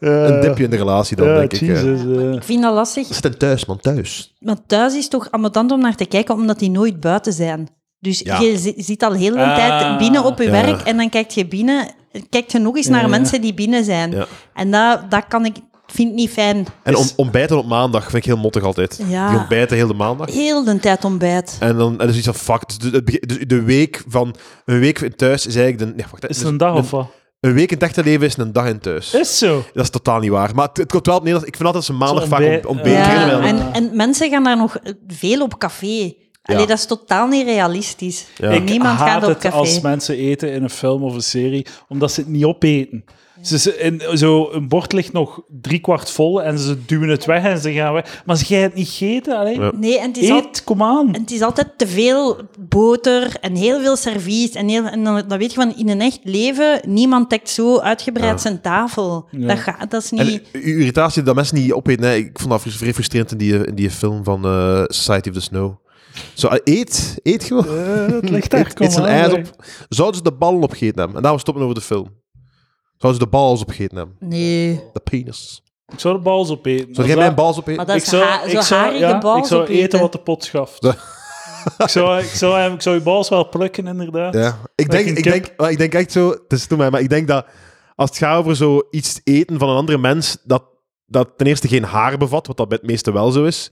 C: eh, een dipje in de relatie dan,
B: Ja,
C: denk ik. eh.
B: Jesus, eh.
A: Ik vind dat lastig.
C: Zit hem thuis, man, thuis.
A: Maar thuis is toch ambetant om naar te kijken, omdat die nooit buiten zijn. Dus
C: Ja.
A: je zi- zit al heel een
B: Ah.
A: tijd binnen op je
C: Ja.
A: werk en dan kijkt je binnen, kijkt je nog eens naar
B: ja.
A: mensen die binnen zijn.
C: Ja.
A: En dat, dat kan ik, vind ik niet fijn.
C: En
B: Dus-
C: om- ontbijten op maandag vind ik heel mottig altijd.
A: Ja.
C: Die ontbijten heel de maandag.
A: Heel de tijd ontbijt.
C: En dan en dus iets van fuck. Dus de, het begin- dus de week van een week in thuis is eigenlijk. De, nee, wacht, hè.
B: Is het
C: Dus
B: een dag of wat?
C: een week in het echte leven is een dag in thuis.
B: Is zo.
C: Dat is totaal niet waar. Maar het, het komt wel op neer. dat- Ik vind altijd dat ze maandag
B: Zo'n
C: vaak
B: ontbijt-
C: ontbijten. Ontbijt,
B: Ja,
A: Ja,
C: beginnen wel.
A: en, en mensen gaan daar nog veel op café. Allee,
C: Ja.
A: dat is totaal niet realistisch.
C: Ja.
B: Ik
A: Niemand
B: haat
A: gaat op
B: het
A: café.
B: als mensen eten in een film of een serie, omdat ze het niet opeten. Ze, ze- en zo, een bord ligt nog driekwart vol en ze duwen het weg en ze gaan weg. Maar ze gaan het niet gegeten, alleen.
C: Ja.
A: Nee, en het is, al,
B: Eet, kom aan.
A: en het is altijd te veel boter en heel veel servies. En, heel, en dan, dan weet je van, in een echt leven, niemand dekt zo uitgebreid zijn tafel.
B: Ja.
A: Dat, gaat, dat is
C: En
A: niet...
C: uw irritatie dat mensen niet opeten, hè, ik vond dat vrij frustrerend in die, in die film van eh, Society of the Snow. Zo, eh, eet, eet gewoon.
B: Eh, het ligt daar,
C: Eet,
B: kom
C: eet zijn
B: aan,
C: eiers
B: allee.
C: op. Zouden ze de ballen opgegeten hebben? En daarom stoppen we over de film. Zouden ze de balls opgegeten hebben?
A: Nee.
C: De penis.
B: Ik zou de bals opeten.
C: Zou jij
B: Als
C: mijn
B: dat-
C: balls opeten?
A: Maar dat
B: ik
A: is
B: zou,
A: ha- zo
B: ik zou,
A: harige
B: ja,
A: bals
B: ik zou
A: opeten.
B: eten wat de pot schaft. ik, zou, ik, zou, hem- ik zou je bals wel plukken, inderdaad.
C: Ja, ik
B: Like
C: denk,
B: een
C: ik,
B: kip.
C: denk, maar ik denk echt zo, het is toen mij, maar ik denk dat als het gaat over zo iets eten van een andere mens, dat dat ten eerste geen haar bevat, wat dat bij het meeste wel zo is.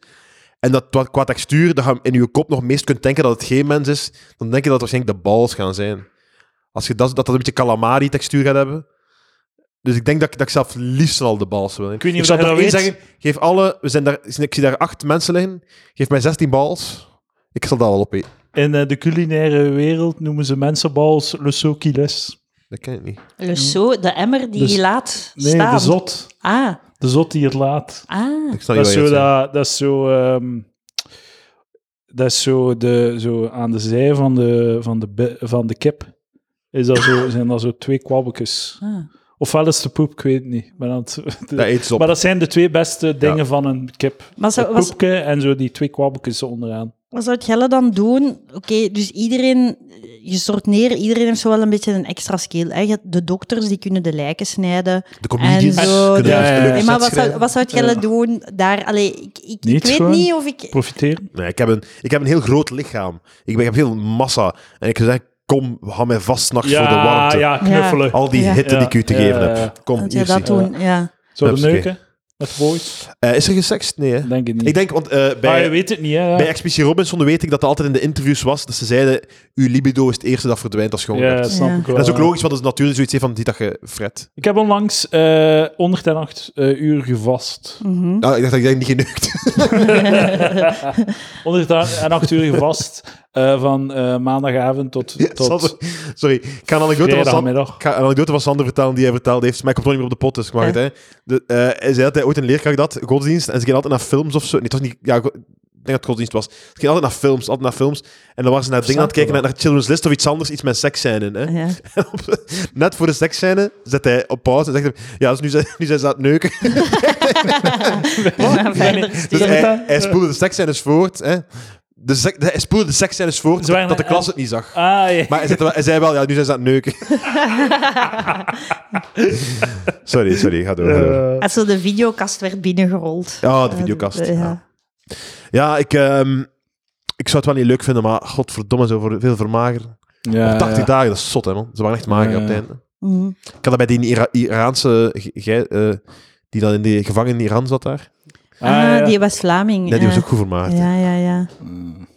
C: En dat wat- qua textuur, dat je in je kop nog meest kunt denken dat het geen mens is, dan denk je dat het waarschijnlijk de balls gaan zijn. Als je dat, dat dat een beetje calamari-textuur gaat hebben. Dus ik denk dat, ik- dat ik zelf liefst al de balls wil.
B: Ik weet niet of
C: zou
B: dat je
C: toch
B: dat
C: één
B: weet.
C: zeggen, geef alle, we zijn daar, ik zie daar acht mensen liggen, geef mij 16 balls, ik zal dat wel opeten.
B: In eh, de culinaire wereld noemen ze mensenbals le soquiles.
C: Dat ken ik niet.
A: Dus zo, de emmer die
B: Dus-
A: je laat
B: Nee,
A: staan.
B: de zot.
A: Ah,
B: De zot die het laat.
A: ah.
C: Oh, Ik snap
B: Dat is
C: niet
B: zo,
C: wat je wilt
B: dat, dat is zo, ehm, dat is zo, de, zo aan de zij van de, van de, bi- van de kip. Is dat zo, zijn dat zo twee kwabbekjes.
A: ah.
B: Ofwel is het de poep, ik weet het niet. Ik ben aan het-
C: zeggen. Dat eet ze op.
B: maar dat zijn de twee beste dingen van een kip.
A: Maar
B: Het
A: zo, was,
B: poepje en zo die twee kwabbekjes onderaan.
A: Wat zou Jelle dan doen? Oké, dus iedereen, je stort neer, iedereen heeft zo wel een beetje een extra skill. Hè? Je hebt De dokters die kunnen de lijken snijden.
C: De comedians
A: En zo,
C: kunnen
B: de-
C: echt
B: Ja, ja, ja.
C: leuke
A: Nee,
B: Hey,
A: maar wat
C: sets
A: zou,
C: schrijven.
A: wat zou Jelle doen daar? Allee, ik, ik, ik
B: Niets
A: weet
B: gewoon.
A: niet of ik.
B: Profiteren.
C: Nee, ik heb, een, ik heb een heel groot lichaam. Ik, ben, ik heb heel massa. En ik zeg, kom, hou mij vast s'nachts voor de warmte.
B: ja, knuffelen.
C: Al die
A: Ja.
C: hitte die ik u te
B: Ja,
C: geven
B: ja,
C: heb.
B: ja.
C: Kom,
A: Dat je
C: hier
A: dat
C: zie.
A: doen, ja.
B: Zo de
C: Hupsakee.
B: neuken. Met boys.
C: Eh, Is er gesext? Nee, hè?
B: Denk ik niet.
C: Ik denk, want eh,
B: Ah, je
C: bij,
B: weet het niet, hè.
C: bij Expeditie Robinson weet ik dat dat altijd in de interviews was, dat ze zeiden, uw libido is het eerste dat verdwijnt als je honger
B: Ja,
C: hebt.
B: dat snap
A: Ja.
B: ik wel.
C: En dat is ook logisch, want dat is natuurlijk zoiets van die eh, dat je fret.
B: Ik heb onlangs eh 108 eh, uur gevast.
A: Mhm.
C: Ah, ik dacht dat jij niet geneukt.
B: 108 uur gevast eh, van eh, maandagavond tot,
C: Sander,
B: tot
C: Sorry, ik ga een anekdote van Sander-
B: vrijdagmiddag.
C: Ik ga een anekdote van Sander vertellen die hij verteld heeft. Maar ik kom toch niet meer op de pot, dus ik mag het. Hè. De, eh, hij zei dat hij ooit een leerkracht had, godsdienst. En ze gingen altijd naar films of zo. Nee, het was niet... Ja, go- ik denk dat het godsdienst was. Ze gingen altijd naar films, altijd naar films. En dan waren ze naar dingen aan het kijken, naar, naar Children's List of iets anders, iets met seksscène. Hè.
A: Ja.
C: En op- net voor de seksscène zet hij op pauze en zegt hij... Ja, dus nu zijn, nu zijn ze aan het neuken.
A: Ja, verder
C: Dus
A: sturen.
C: hij, hij spoelde de seksscènes voort. Hè. De sek- hij spoelde de seksscènes voort,
B: Ze waren-
C: dat, de klas het niet zag.
B: Ah, ja.
C: Maar hij, zegt wel- hij zei wel, ja, nu zijn ze aan het neuken. sorry, sorry, ga door. ga door.
B: Eh,
A: Als zo de videokast werd binnengerold.
C: Ja, de videokast,
A: Eh,
C: ja. Ja, ik, ehm, ik zou het wel niet leuk vinden, maar godverdomme, zo voor, veel vermageren.
B: ja,
C: 80
B: ja.
C: dagen, dat is zot, hè, man. Ze waren echt mager
B: Ja,
C: op het
B: ja.
C: einde.
A: Mhm.
C: Ik had dat bij die Ira- Iraanse, ge- ge- eh, die dan in die gevangen in Iran zat daar.
A: Ah,
B: Ah, ja.
A: die was Vlaming.
C: Nee, die was
A: ja.
C: ook goed vermagerd. hè.
A: Ja, ja, ja.
B: Mm.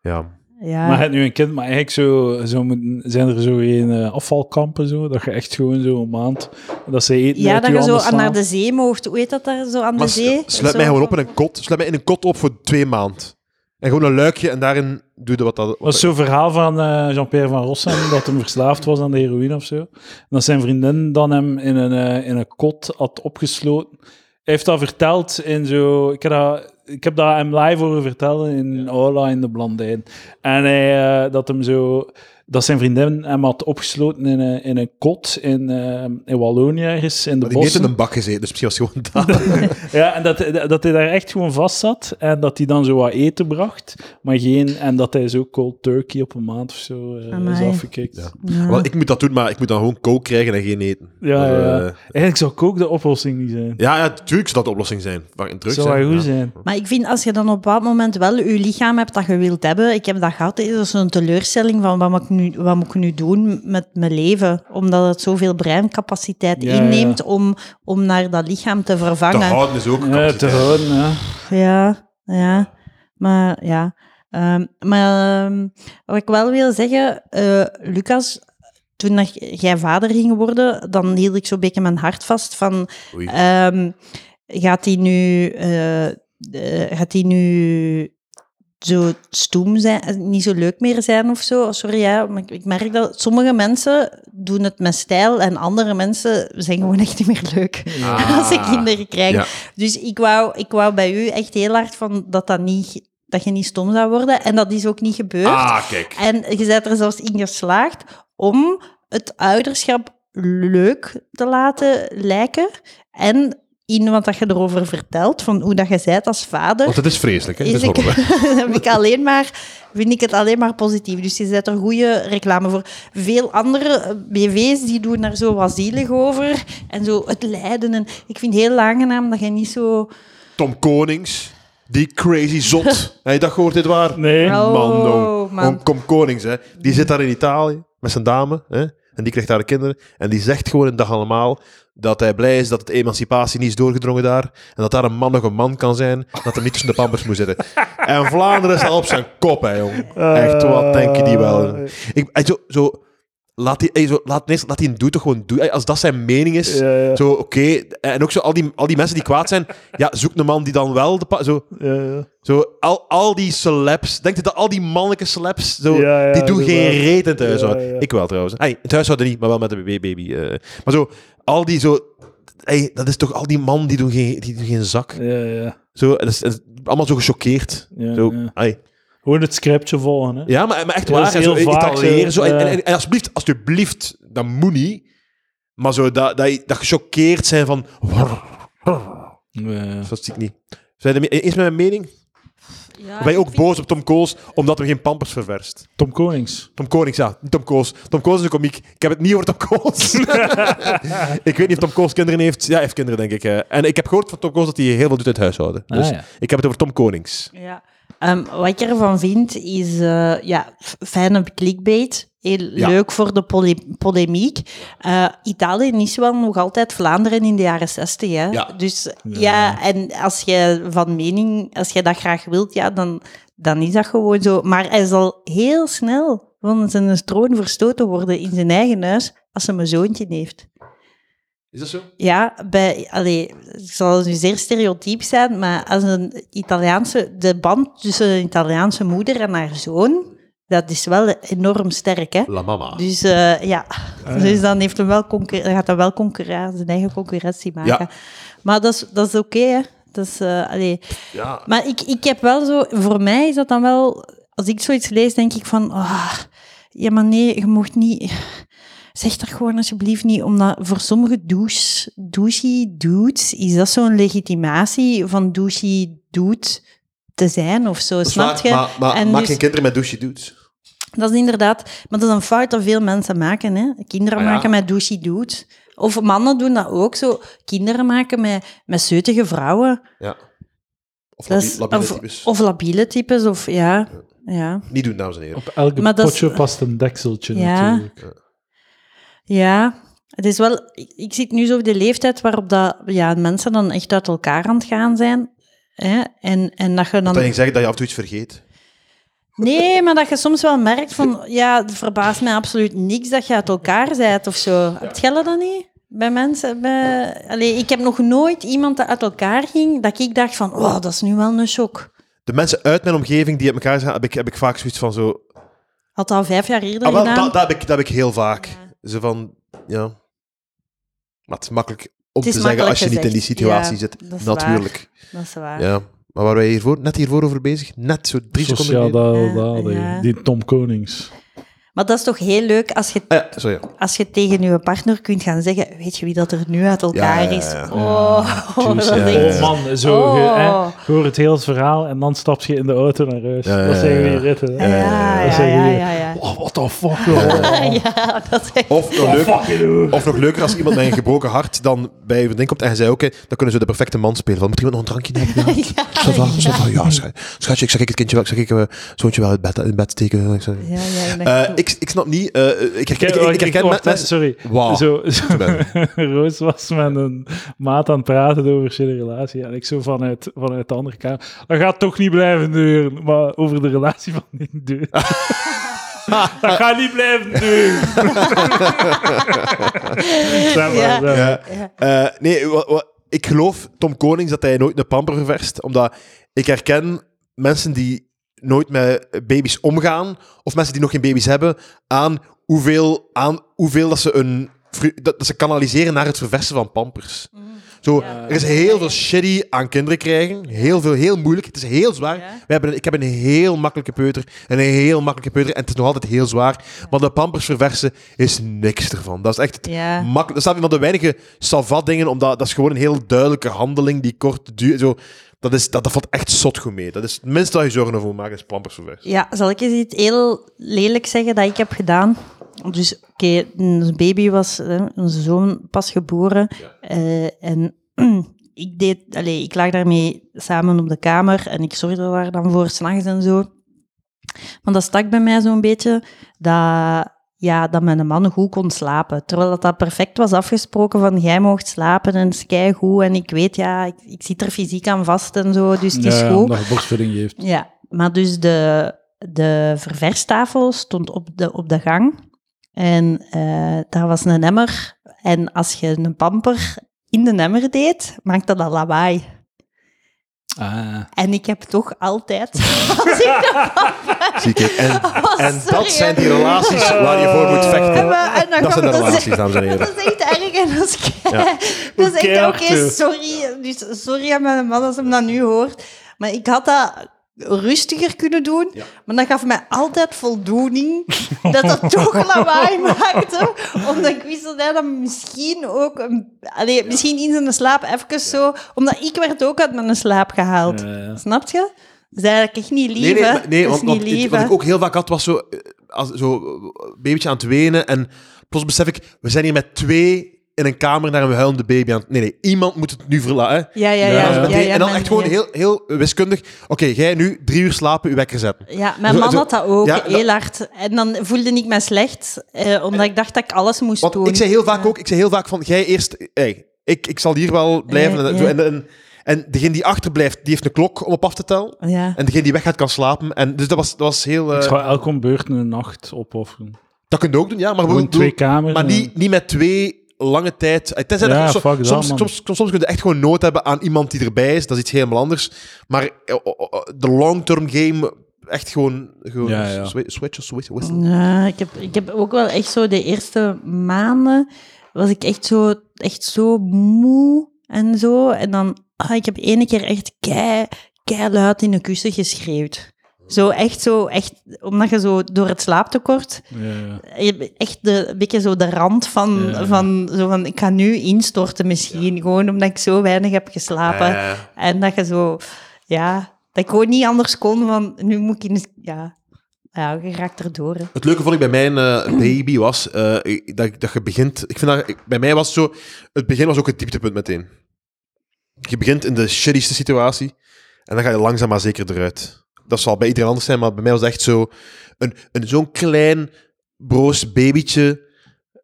C: Ja.
A: ja.
B: Maar je hebt nu een kind, maar eigenlijk zo, zo moeten- zijn er zo geen eh, afvalkampen, zo, dat je echt gewoon zo een maand, dat ze eten
A: ja,
B: uit
A: dat
B: je
A: je zo
B: handen
A: aan naar
B: slaan.
A: de zee mocht. Hoe heet dat daar zo aan
C: Maar
A: de zee?
C: s- sluit mij
A: Zo
C: gewoon op in
A: van-
C: een kot. Sluit mij in een kot op voor twee maanden. En gewoon een luikje en daarin doe je wat dat...
B: Dat was zo'n verhaal van eh, Jean-Pierre van Rossem, dat hem verslaafd was aan de heroïne of zo. En dat zijn vriendin dan hem in een, eh, in een kot had opgesloten. Hij heeft dat verteld in zo... Ik heb, dat, ik heb dat hem live horen vertellen in Aula in de Blandijn. En hij, eh, dat hem zo... dat zijn vriendin hem had opgesloten in een, in een kot in, eh, in Wallonië ergens, in de
C: Maar die heeft in
B: bossen.
C: een bak gezeten, dus misschien was het gewoon dat.
B: Ja, en dat, dat hij daar echt gewoon vast zat en dat hij dan zo wat eten bracht, maar geen... En dat hij zo cold turkey op een maand of zo eh, is
A: Amai.
B: afgekikt.
C: Ja.
B: Ja.
A: Ja.
C: Wel, ik moet dat doen, maar ik moet dan gewoon kook krijgen en geen eten.
B: Ja,
C: Dus,
B: ja.
C: eh,
B: Eigenlijk zou kook de oplossing niet zijn.
C: ja, ja, tuurlijk zou dat de oplossing zijn. Maar in drugs,
B: zou
C: hè.
B: hij goed
C: Ja.
B: zijn.
A: Maar ik vind, als je dan op een bepaald moment wel je lichaam hebt dat je wilt hebben, ik heb dat gehad, dat is een teleurstelling van wat moet ik nu, wat moet ik nu doen met mijn leven? Omdat het zoveel breincapaciteit
B: Ja,
A: inneemt Om, om naar dat lichaam te
C: Te
A: vervangen.
C: houden is ook
B: Ja,
C: kapaciteit.
B: te houden, ja.
A: Ja, ja. Maar ja. Ehm, maar ehm, wat ik wel wil zeggen, eh, Lucas, toen dat jij vader ging worden, dan hield ik zo'n beetje mijn hart vast van...
C: Oei.
A: ehm, gaat hij nu... eh, eh, gaat hij nu zo stoem zijn, eh, niet zo leuk meer zijn of zo. Sorry, ja, maar ik, ik merk dat sommige mensen doen het met stijl en andere mensen zijn gewoon echt niet meer leuk
C: Ah.
A: als ze kinderen krijgen.
C: Ja.
A: Dus ik wou, ik wou bij u echt heel hard van dat, dat, niet, dat je niet stom zou worden. En dat is ook niet gebeurd.
C: Ah, kijk.
A: En je bent er zelfs in geslaagd om het ouderschap leuk te laten lijken. En in wat dat je erover vertelt, van hoe dat je bent als vader
C: Want het is vreselijk, hè? Het
A: is
C: is
A: ik,
C: horrible.
A: heb ik alleen maar, vind ik het alleen maar positief. Dus je zet er goede reclame voor. Veel andere eh, BV's die doen daar zo wat zielig over. En zo het lijden. En ik vind het heel aangenaam dat je niet zo...
C: Tom Konings, die crazy zot. Heb je dat gehoord, dit waar?
B: Nee.
A: Oh,
C: man, jong.
A: man.
C: Om- Tom Konings, hè. Die zit daar in Italië met zijn dame, hè. En die krijgt daar de kinderen. En die zegt gewoon een dag allemaal dat hij blij is dat het emancipatie niet is doorgedrongen daar. En dat daar een man nog een man kan zijn. Dat er niet tussen de pampers moet zitten. En Vlaanderen staat op zijn kop, hè, jong. Echt,
B: Ah.
C: wat denk je die wel? Ik, ey, zo, zo, laat die, ey, zo, laat, nee, laat die een doet toch gewoon doen. Ey, Als dat zijn mening is,
B: Ja, ja.
C: zo, oké. En ook zo, al die, al die mensen die kwaad zijn, ja, zoek een man die dan wel de... pa- Zo,
B: Ja, ja.
C: zo, al, al die celebs. Denk je dat al die mannelijke celebs. Zo,
B: Ja, ja,
C: die doen
B: inderdaad.
C: geen reet in het huis.
B: Ja, ja.
C: Ik wel trouwens. Hey, in het huis niet, maar wel met een baby. eh. Maar zo, al die zo. Hey, dat is toch al die man die doen geen, die doen geen zak.
B: Ja, ja.
C: Zo, dat is, dat is allemaal zo gechoqueerd.
B: Ja,
C: zo,
B: ja.
C: hey.
B: Gewoon het scriptje volgen, hè.
C: ja maar, maar echt
B: Dat
C: waar.
B: is
C: en zo,
B: heel
C: ik- ik
B: vaak zo,
C: leren, zo, en,
B: eh.
C: en, en alsjeblieft, alsjeblieft, dat moet niet. Maar zo, dat, dat, dat gechoqueerd zijn van.
B: Ja, ja.
C: Dat zie ik niet. Zijn jullie het eens met mijn mening?
A: Ah,
C: ben je ook boos op Tom Kools omdat hem geen pampers ververst?
B: Tom Konings.
C: Tom Konings, ja. Niet Tom Koos. Tom Koos is een komiek. Ik heb het niet over Tom Koos. ik weet niet of Tom Koos kinderen heeft. Ja, hij heeft kinderen, denk ik. hè. En ik heb gehoord van Tom Koos dat hij heel veel doet uit huishouden.
B: Ah,
C: Dus
B: ja.
C: ik heb het over Tom Konings.
A: Ja. Ehm, wat ik ervan vind, is eh, ja, f- fijne clickbait. Heel
C: Ja.
A: leuk voor de pole- polemiek. Eh, Italië is wel nog altijd Vlaanderen in de jaren zestig.
C: Ja.
A: Dus ja, en als je van mening, als je dat graag wilt, ja, dan, dan is dat gewoon zo. Maar hij zal heel snel van zijn troon verstoten worden in zijn eigen huis als hij een zoontje heeft.
C: Is dat zo?
A: Ja, bij, allee, ik zal nu zeer stereotyp zijn, maar als een Italiaanse, de band tussen een Italiaanse moeder en haar zoon, dat is wel enorm sterk, hè?
C: La mama.
A: Dus eh, ja, dus dan heeft hem wel concur- dan gaat hij wel concurren- zijn eigen concurrentie maken.
C: Ja.
A: Maar dat is, dat is oké, hè? Dat is, eh, allee.
C: Ja.
A: Maar ik, ik heb wel zo, voor mij is dat dan wel, als ik zoiets lees, denk ik van, ah, ja, maar nee, je mocht niet. Zeg dat gewoon alsjeblieft niet, omdat voor sommige douche, douchey dudes is dat zo'n legitimatie van douchey dude te zijn of zo, snap je?
C: Maar, maar
A: En
C: maak
A: dus-
C: geen kinderen met douche dudes.
A: dat is inderdaad, maar dat is een fout dat veel mensen maken. Hè? Kinderen
C: Ah, ja.
A: maken met douchey dudes. Of mannen doen dat ook zo. Kinderen maken met, met zeutige vrouwen.
C: Ja. Of
A: Dat
C: labi-
A: is-
C: labiele
A: of,
C: types.
A: of labiele types, of ja. ja.
C: Niet doen, dames en heren.
B: Op elke
A: Maar dat is-
B: potje past een dekseltje
A: Ja.
B: natuurlijk.
A: Ja, het is wel. Ik, ik zit nu zo op de leeftijd waarop dat, ja, mensen dan echt uit elkaar aan het gaan zijn. Hè? En, en dat je
C: Dan denk
A: dan.
C: ik zeggen dat je af en toe iets vergeet.
A: Nee, maar dat je soms wel merkt van. Ja, het verbaast mij absoluut niks dat je uit elkaar bent of zo. Het geldt dat niet? Bij mensen. Bij... Allee, ik heb nog nooit iemand dat uit elkaar ging. dat ik dacht van. Oh, dat is nu wel een shock.
C: De mensen uit mijn omgeving die uit elkaar zijn, heb ik, heb ik vaak zoiets van zo...
A: Had dat al vijf jaar eerder
C: Ah, wel,
A: gedaan.
C: dat, dat, heb ik, dat heb ik heel vaak. Zo van, ja... Maar het is makkelijk om
A: Het is
C: te zeggen als je
A: makkelijk
C: niet in die
A: gezegd.
C: situatie
A: Ja,
C: zit.
A: dat is
C: Natuurlijk.
A: Dat is waar.
C: Ja, maar waren wij hiervoor, net hiervoor over bezig? Net zo drie
B: Sociaal
C: seconden geleden.
B: daar,
A: Ja,
B: daar,
A: ja.
B: Die Tom Konings.
A: Maar dat is toch heel leuk als je,
C: Ah, ja, sorry. ja.
A: als je tegen je partner kunt gaan zeggen: Weet je wie dat er nu uit elkaar
C: Ja, ja,
A: is?
C: ja.
A: Oh, dat is
C: ja,
A: echt-
B: Oh man, zo.
A: Oh.
B: Je, hè, je hoort het hele verhaal en dan stap je in de auto naar huis.
C: Ja, ja,
B: dat zijn
C: ja, ja.
B: jullie ritten. hè.
A: Ja,
B: Dat
A: ja,
B: zijn
A: ja,
B: jullie-
A: ja, ja.
B: Oh, what the fuck, joh.
A: Ja, dat is echt-
C: Of nog, leuk,
B: Oh, Fuck you.
C: of nog leuker, als iemand met een gebroken hart dan bij je ding komt en je zei, oké, dan kunnen ze de perfecte man spelen. Van, moet iemand nog een drankje nemen? Ja, Ça va, ça va. ja schat, schatje, ik zag ik het kindje wel, ik zag ik eh, zoontje wel uit bed, in bed steken. Ik, zeg-
A: Ja, ja, ik ben-
C: Eh, ik, ik snap niet, eh, ik, herken- ik,
B: Kijk,
C: ik,
B: oh,
C: ik
B: ik-
C: herken
B: wacht,
C: met
B: hè,
C: mensen...
B: Sorry.
C: Wauw.
B: Zo, zo-
C: ben-
B: Roos was met een maat aan het praten over zijn relatie. En ik zo vanuit, vanuit de andere kamer. Dat gaat toch niet blijven duren. Maar over de relatie van die deur. dat gaat niet blijven duren. Zeg maar,
A: Ja.
B: zeg maar.
C: Ja. Eh, nee, wa- wa- ik geloof Tom Konings dat hij nooit een pamper ververst. Omdat ik herken mensen die nooit met baby's omgaan, of mensen die nog geen baby's hebben, aan hoeveel, aan hoeveel dat ze een. fru- Dat, dat ze kanaliseren naar het verversen van pampers.
A: Mhm.
C: Zo, er is heel veel shitty aan kinderen krijgen. Heel veel, heel moeilijk. Het is heel zwaar.
A: Ja.
C: We hebben, een- ik heb een heel makkelijke peuter. en Een heel makkelijke peuter. En het is nog altijd heel zwaar. Maar de pampers verversen is niks ervan. Dat is echt het
A: Ja.
C: Makkelijk. Dat staat een van de weinige salvat dingen, omdat dat is gewoon een heel duidelijke handeling die kort duurt. Zo, dat, is, dat, dat valt echt zot goed mee. Dat is het minste dat je zorgen over moet maken, is pampers voor weg.
A: Ja, zal ik eens iets heel lelijk zeggen dat ik heb gedaan? Dus, oké, ons baby was, hè, onze zoon, pas geboren. eh, en ik, deed, allee, ik lag daarmee samen op de kamer en ik zorgde daar dan voor, s'nachts en zo. Want dat stak bij mij zo'n beetje dat, ja, dat mijn man goed kon slapen. Terwijl dat, dat perfect was afgesproken van jij mocht slapen en het is goed. En ik weet, ja, ik, ik zit er fysiek aan vast en zo, dus het is
B: Ja,
A: goed.
B: omdat je borstvoeding geeft.
A: Ja, maar dus de, de ververstafel stond op de, op de gang. En eh, daar was een emmer. En als je een pamper in de emmer deed, maakte dat lawaai.
B: Ah.
A: En ik heb toch altijd... als ik dat-
C: Zie ik. En,
A: Oh,
C: en dat
A: sorry,
C: zijn
A: hè.
C: die relaties waar je voor moet
A: En
C: vechten.
A: we- en dan kwam
C: Dat zijn de
A: dat-
C: relaties, dames en heren.
A: Dat is echt erg en dat is kei-
C: Ja.
A: Dat is echt,
B: Keihard,
A: oké,
B: hè.
A: sorry. Dus sorry aan mijn man als hij dat nu hoort. Maar ik had dat rustiger kunnen doen. Maar dat gaf mij altijd voldoening dat dat toch lawaai maakte. Omdat ik wist dat hij dan misschien ook... Een, allee, misschien in zijn slaap even zo... Omdat ik werd ook uit mijn slaap gehaald.
B: Ja, ja.
A: Snap je? Dat is eigenlijk echt niet lief,
C: Nee, nee,
A: hè.
C: maar- nee
A: Dat is
C: want, want
A: niet
C: het-
A: lief,
C: wat
A: hè.
C: ik ook heel vaak had, was zo, eh, als, zo eh, babytje aan het wenen. En plots besef ik, we zijn hier met twee in een kamer naar een huilende baby aan het... Nee, nee, iemand moet het nu verlaten.
A: Ja, ja, ja.
B: Ja,
A: ja,
B: dus
A: ja,
C: Meteen. en dan
A: mijn-
C: echt gewoon
A: ja.
C: heel, heel wiskundig. Oké, jij nu drie uur slapen, uw wekker zetten.
A: Ja, mijn
C: Zo-
A: man
C: zo-
A: had dat ook,
C: ja,
A: heel hard. En dan voelde ik mij slecht, eh, omdat ik dacht dat ik alles moest
C: Want
A: doen.
C: ik zei heel vaak ook, ik zei heel vaak van, jij eerst, hey, ik, ik zal hier wel blijven.
A: Ja,
C: en, zo.
A: ja.
C: En, en, en degene die achterblijft, die heeft een klok om op af te tellen.
A: Ja.
C: En degene die weggaat, kan slapen. En, dus dat was, dat was heel... eh,
B: Ik zou elke beurt een nacht opofferen.
C: dat kun je ook doen, ja. Maar,
B: Gewoon
C: bedoel-
B: twee kamers.
C: maar
B: en-
C: niet, niet met twee lange tijd... eh, Tenzij
B: Ja,
C: dat je-
B: fuck dat,
C: soms,
B: man.
C: soms, soms, soms kun je echt gewoon nood hebben aan iemand die erbij is. Dat is iets helemaal anders. Maar eh, oh, oh, oh, de long-term game, echt gewoon... gewoon
B: Ja, ja.
C: swi- Switch of switch, whistle.
A: Ja, ik, heb, ik heb ook wel echt zo de eerste maanden was ik echt zo, echt zo moe en zo. En dan, ah, ik heb ene keer echt kei, kei luid in de kussen geschreeuwd. Zo echt zo, echt, omdat je zo door het slaaptekort,
B: Ja, ja.
A: je hebt echt de, een beetje zo de rand van,
B: Ja.
A: van, zo van, ik ga nu instorten misschien, gewoon omdat ik zo weinig heb geslapen.
C: Eh,
A: En dat je zo, ja, dat ik gewoon niet anders kon van, nu moet ik in de- ja, ja, je raakt erdoor. Hè.
C: Het leuke vond ik bij mijn eh, baby was eh, ik- dat, dat je begint. Ik vind dat, ik- bij mij was het zo. Het begin was ook het dieptepunt meteen. Je begint in de shittyste situatie en dan ga je langzaam maar zeker eruit. Dat zal bij iedereen anders zijn, maar bij mij was het echt zo. Een, een, Zo'n klein broos babytje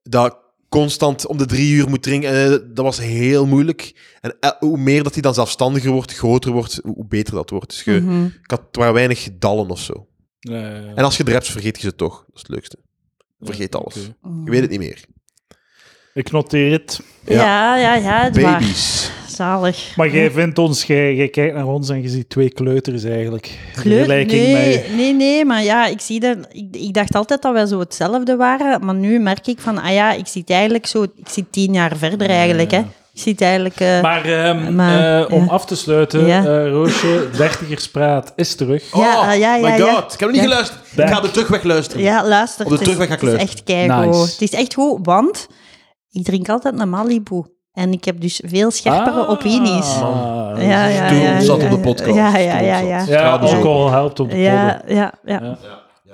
C: dat constant om de drie uur moet drinken. eh, dat was heel moeilijk. En el- hoe meer dat hij dan zelfstandiger wordt, groter wordt, hoe, hoe beter dat wordt. Dus je,
A: Mhm.
C: ik had, het waren weinig dallen of zo.
B: Ja, ja, ja.
C: En als je de reps vergeet je ze toch. Dat is het leukste. Vergeet
B: Ja,
C: alles.
B: oké.
C: Je weet het niet meer.
B: Ik noteer het.
A: Ja, ja, ja, het waar.
C: Baby's.
A: Zalig.
B: Maar jij vindt ons, jij, jij kijkt naar ons en je ziet twee kleuters eigenlijk.
A: Kleur-
B: Vergelijking
A: nee,
B: met-
A: nee, nee, maar ja, ik zie dat. Ik, ik dacht altijd dat wij zo hetzelfde waren, maar nu merk ik van, ah ja, ik zit eigenlijk zo, ik zit tien jaar verder eigenlijk, hè. Je ziet eigenlijk... eh,
B: Maar, ehm,
A: maar,
B: eh, om
A: ja.
B: af te sluiten,
A: Ja.
B: eh, Roosje, dertigerspraat is terug.
A: Ja,
C: oh,
A: eh, ja, ja,
C: my
A: ja.
C: god. Ik heb hem niet
A: Ja.
C: geluisterd.
B: Dank.
C: Ik ga de terugweg luisteren.
A: ja, luister.
C: Op de
A: het is-
C: terugweg ga
A: Het
C: ik
A: is
C: luisteren.
A: echt keigoed.
B: Nice.
A: Het is echt goed, want ik drink altijd een Malibu. En ik heb dus veel scherpere
B: Ah.
A: opinies.
B: Man.
A: Ja, ja,
C: Toen
A: ja,
C: zat
A: ja,
C: op de
A: ja.
C: podcast.
A: Ja, ja,
C: Toen
A: ja,
C: zat.
A: ja.
B: Ja,
C: Straalbezoek.
B: alcohol helpt op de
A: Ja, ja, ja.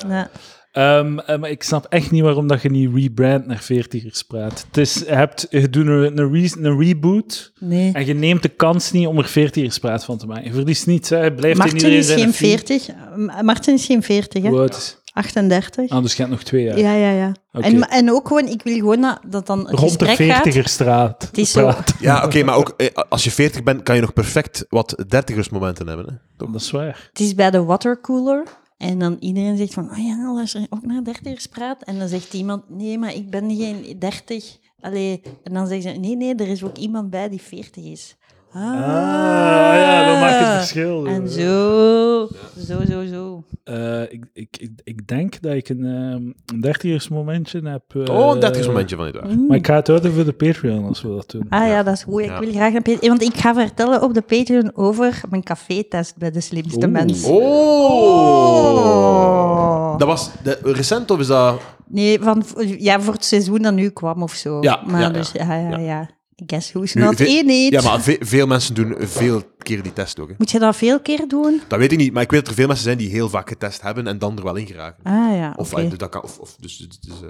A: ja.
B: Ehm, eh, maar ik snap echt niet waarom dat je niet rebrandt naar 40ers praat. Het is, je, hebt, je doet een, een, re- een reboot
A: Nee.
B: en je neemt de kans niet om er 40ers praat van te maken. Je verliest niets, hè. Je blijft in
A: Martin
B: iedereen
A: is
B: zijn
A: geen
B: vriend.
A: 40. Ma- Maarten is geen 40, hè?
B: Hoe oud is-
A: 38.
B: Ah, dus je hebt nog twee jaar.
A: Ja, ja, ja.
B: Oké.
A: En, en ook gewoon, ik wil gewoon dat, dat dan het
B: Rond de
A: gesprek gaat.
B: 40ers straat. Het
A: is zo.
C: Ja, oké, maar ook eh, als je 40 bent, kan je nog perfect wat dertigersmomenten hebben. Hè? Toch?
B: Dat is waar.
A: Het is bij de watercooler. En dan iedereen zegt van, oh ja, luister je ook naar dertigers praat. En dan zegt iemand, nee, maar ik ben geen dertig. Allee, en dan zeggen ze, nee, nee, er is ook iemand bij die veertig is. Ah,
B: Ah, ja, dat maakt het verschil.
A: En zo, zo, zo, zo.
B: Eh, ik, ik, ik, ik denk dat ik een, ehm, een dertigersmomentje heb. eh,
C: Oh, een dertigersmomentje van
A: Mm.
C: vandaag.
B: Maar ik ga het houden voor de Patreon als we dat doen.
A: Ah ja, dat is goed. Ik
C: Ja.
A: wil graag een Patreon. Want ik ga vertellen op de Patreon over mijn café-test bij de slimste
B: Oeh.
A: mensen.
C: Oh! Dat was de, recent of is dat...
A: Nee, van, ja, voor het seizoen dat nu kwam of zo.
C: Ja,
A: maar
C: ja, ja.
A: dus, ja, ja, ja. I guess who's
C: Nu,
A: not
C: ve-
A: in it?
C: Ja, maar ve- veel mensen doen veel keer die test ook. Hè.
A: Moet je dat veel keer doen?
C: Dat weet ik niet, maar ik weet dat er veel mensen zijn die heel vaak getest hebben en dan er wel in geraken.
A: Ah ja,
C: Of,
A: oké.
C: eh, dat kan, of, of dus, dus, dus, eh,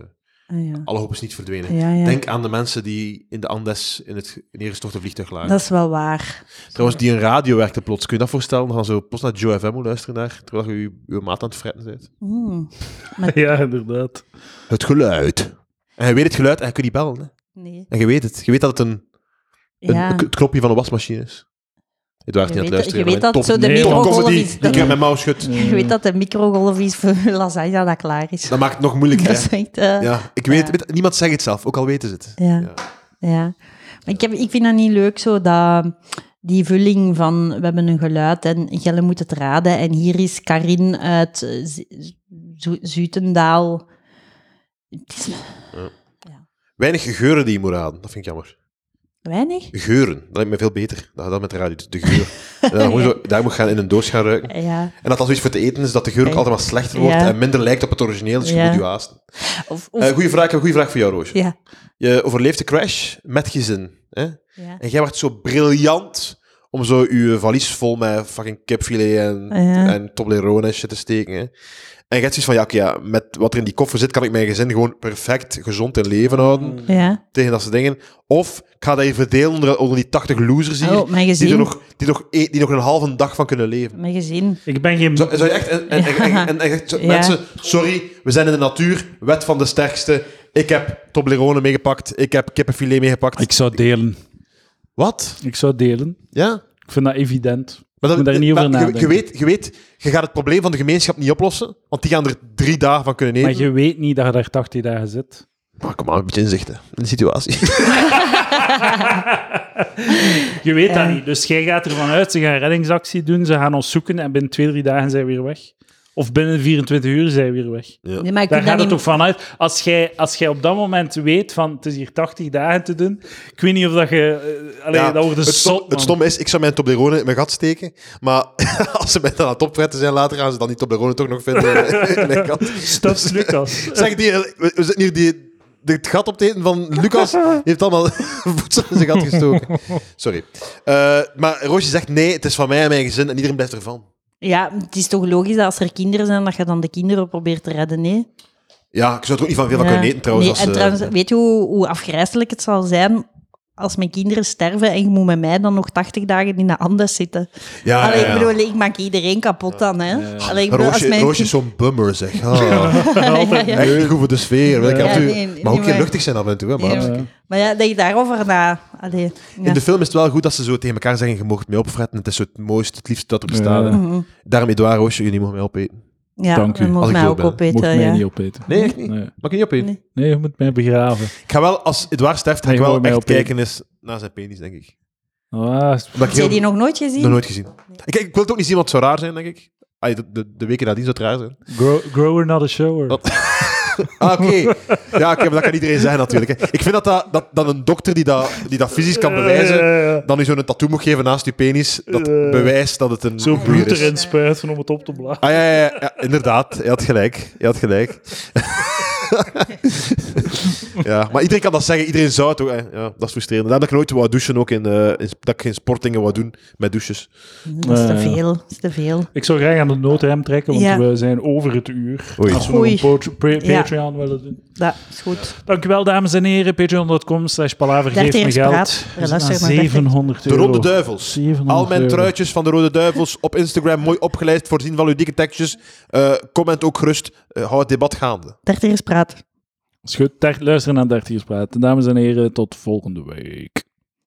A: Ah, ja.
C: alle hoop is niet verdwenen.
A: Ja, ja.
C: Denk aan de mensen die in de Andes in het neergestorte vliegtuig lagen.
A: Dat is wel waar.
C: Trouwens, die een radio werkte plots. Kun je dat voorstellen? Dan gaan zo plots naar Joe FM hoe luisteren naar, terwijl je je- je maat aan het fretten bent.
A: Hmm.
B: Ja, inderdaad.
C: Het geluid. En je weet het geluid en je kunt niet bellen. Hè?
A: Nee.
C: En je weet het. Je weet dat het een, een-
A: Ja,
C: een- het knopje van een wasmachine is. Eduard
A: Je weet
C: niet aan het
A: dat-
C: luisteren.
A: je weet
C: maar
A: dat
C: top-
A: zo de
C: top
B: microgolf
C: comedy.
A: is-
C: Ik heb mijn mouw schud.
A: je weet dat de microgolf is voor lasagne dat klaar is.
C: Dat maakt het nog
A: Dat
C: moeilijker.
A: is
C: hè?
A: echt... eh, ja.
C: Ja, ik weet het. weet- Niemand zegt het zelf, ook al weten ze het.
A: Ja.
C: Ja.
A: Maar ik, heb, ik vind dat niet leuk, zo dat... Die vulling van, we hebben een geluid en Jelle moet het raden. En hier is Karin uit eh, Z- Zo- Zutendaal. Het is
C: Weinig geuren die je moet raden. Dat vind ik jammer.
A: weinig.
C: Geuren. Dat lijkt me veel beter. Dan dan met de radio. De geur. En dan gewoon zo- daar moet je gaan in een doos gaan ruiken.
A: Ja.
C: En dat als iets voor te eten is, dat de geur ook altijd maar slechter wordt
A: Ja.
C: en minder lijkt op het origineel. Dus je
A: Ja.
C: moet je haasten.
A: Of, of,
C: Eh goeie vraag, een goede vraag voor jou, Roosje.
A: ja.
C: Je overleeft de crash met gezin. Hè?
A: Ja.
C: En jij wordt zo briljant om zo je valies vol met fucking kipfilet en,
A: Ah, Ja.
C: en Toblerone en shit te steken. Hè? En je hebt zoiets van, ja, oké, ja, met wat er in die koffer zit, kan ik mijn gezin gewoon perfect gezond in leven houden.
A: Mm. ja.
C: Tegen dat soort dingen. Of ik ga dat even verdelen onder, onder die 80 losers hier,
A: Oh, mijn
C: die, er
A: gezin.
C: nog, die, nog, e- die nog een halve dag van kunnen leven.
A: Mijn gezin.
B: Ik ben geen...
C: Zou, zou je echt... En, en, en, en, en- en- echt zo-
A: Ja.
C: Mensen, sorry, we zijn in de natuur. Wet van de sterkste. Ik heb Toblerone meegepakt. Ik heb kippenfilet meegepakt.
B: Ik zou delen.
C: Wat?
B: Ik zou delen.
C: Ja?
B: Ik vind dat evident.
C: Maar
B: Moet daar niet
C: maar
B: over
C: je- je,
B: nadenken.
C: weet, je weet, je gaat het probleem van de gemeenschap niet oplossen. Want die gaan er drie dagen van kunnen
B: Maar
C: eten.
B: je weet niet dat je daar 80 dagen zit.
C: Maar kom maar, een beetje inzichten in de situatie.
B: Je weet
A: Eh.
B: dat niet. Dus jij gaat ervan uit, ze gaan een reddingsactie doen, ze gaan ons zoeken en binnen twee, drie dagen zijn we weer weg. Of binnen 24 uur zijn we weer weg.
A: Nee, maar ik
B: Daar
A: doe dat
B: gaat het
A: niet-
B: toch vanuit. Als jij, als jij op dat moment weet van het is hier 80 dagen te doen, ik weet niet of dat je. eh, allee,
C: Ja,
B: dat wordt een
C: het, stom-
B: zot,
C: het
B: man.
C: stomme is, ik zou mijn Toblerone in mijn gat steken. Maar als ze mij dan aan het opfretten zijn later, gaan ze dan die Toblerone toch nog vinden in mijn gat. Dus
B: Stuffs Lucas.
C: Zeg, die, we, we zitten hier die, die- het gat op te eten van Lucas. heeft allemaal voedsel in zijn gat gestoken. Sorry. Eh, maar Roosje zegt nee, het is van mij en mijn gezin en iedereen blijft ervan.
A: Ja, het is toch logisch dat als er kinderen zijn, dat je dan de kinderen probeert te redden, nee?
C: Ja, ik zou er ook niet van veel van
A: Ja.
C: kunnen eten trouwens.
A: Nee,
C: als,
A: en
C: eh,
A: trouwens, weet je hoe, hoe afgrijzelijk het zal zijn als mijn kinderen sterven en je moet met mij dan nog 80 dagen in de Andes zitten?
C: ja, ja,
A: Allee,
C: Ah, ja.
A: ik bedoel, ik maak iedereen kapot dan, hè? Allee, ik bedoel,
C: Roosje,
A: als mijn
C: Roosje is
A: kind-
C: zo'n bummer, zeg. Ah,
A: ja, ja.
C: Echt niet goed voor de sfeer. weet ik
A: Ja,
C: af en toe.
A: nee, nee,
C: maar ook
A: maar-
C: heel luchtig zijn af en toe. Hè, maar.
A: Nee, maar- Maar ja, denk daarover na. Allee, ja.
C: In de film is het wel goed dat ze zo tegen elkaar zeggen, je mocht mij opfretten. Het is zo het mooiste, het liefste dat er bestaat.
B: Ja.
C: hè. Daarom, Edouard, Roosje, jullie mogen mij opeten.
A: ja,
B: Dank u.
A: dat
C: Als
A: Mocht
C: ik
A: mij
C: dood
A: ook
C: ben,
B: Mocht
A: opeten,
B: mij
A: ja.
B: niet opeten.
C: Nee, echt niet?
B: Nee.
C: Mag ik niet opeten?
A: Nee.
B: nee, je moet mij begraven.
C: Ik ga wel, als Edouard sterft, ga
B: Nee,
C: ik wel
B: mogen mij
C: echt
B: opeten.
C: kijken eens naar zijn penis, denk ik.
B: Ah,
C: Omdat ik
A: Heb jij
C: heel-
A: die nog nooit gezien?
C: nog nooit gezien. Ik, ik wil het ook niet zien, want het zou raar zijn, denk ik. Ah, de, de, de weken nadien zou het raar zijn.
B: grow- grower, not a shower.
C: Wat? Ah, oké. Ja, oké, maar dat kan iedereen zeggen natuurlijk. Hè. Ik vind dat, dat, dat, dat een dokter die dat, die dat fysisch kan bewijzen,
B: Ja, ja, ja.
C: dan u zo'n tattoo moet geven naast uw penis, dat
B: Eh,
C: bewijst dat het een
B: Zo bloed
C: boeier is.
B: erin spuiten om het op te blazen.
C: Ah ja, ja, ja, ja, inderdaad. Je had gelijk. Je had gelijk. ja, maar iedereen kan dat zeggen. Iedereen zou het ook. hè. Ja, dat is frustrerend. Daarom dat ik nooit wou douchen, ook in, eh, in- dat ik geen sportdingen wou doen met douches.
A: Dat is te
B: Ja, ja.
A: veel. Dat is te veel.
B: Ik zou graag aan de noodrem trekken, want
A: Ja.
B: we zijn over het uur.
C: Oei.
B: Als we nog een
A: Oei.
B: pot- pre-
A: Ja.
B: Patreon willen doen.
A: Dat is goed.
B: Dankjewel, dames en heren. Patreon.com slash palaver
A: Daar
B: geeft me
A: eerst
B: geld.
A: praat.
B: We zijn
A: Luister
B: aan
A: maar, perfect.
B: 700
C: De
B: euro.
C: Rode Duivels.
B: 700
C: Al mijn
B: euro.
C: truitjes van de Rode Duivels op Instagram mooi opgelijst. Voorzien van uw dikke tekstjes. Eh, comment ook gerust. Eh, hou het debat gaande.
A: Daar ter eens praat.
B: Is goed. Ter- Luister naar 30 Praten. Dames en heren, tot volgende week.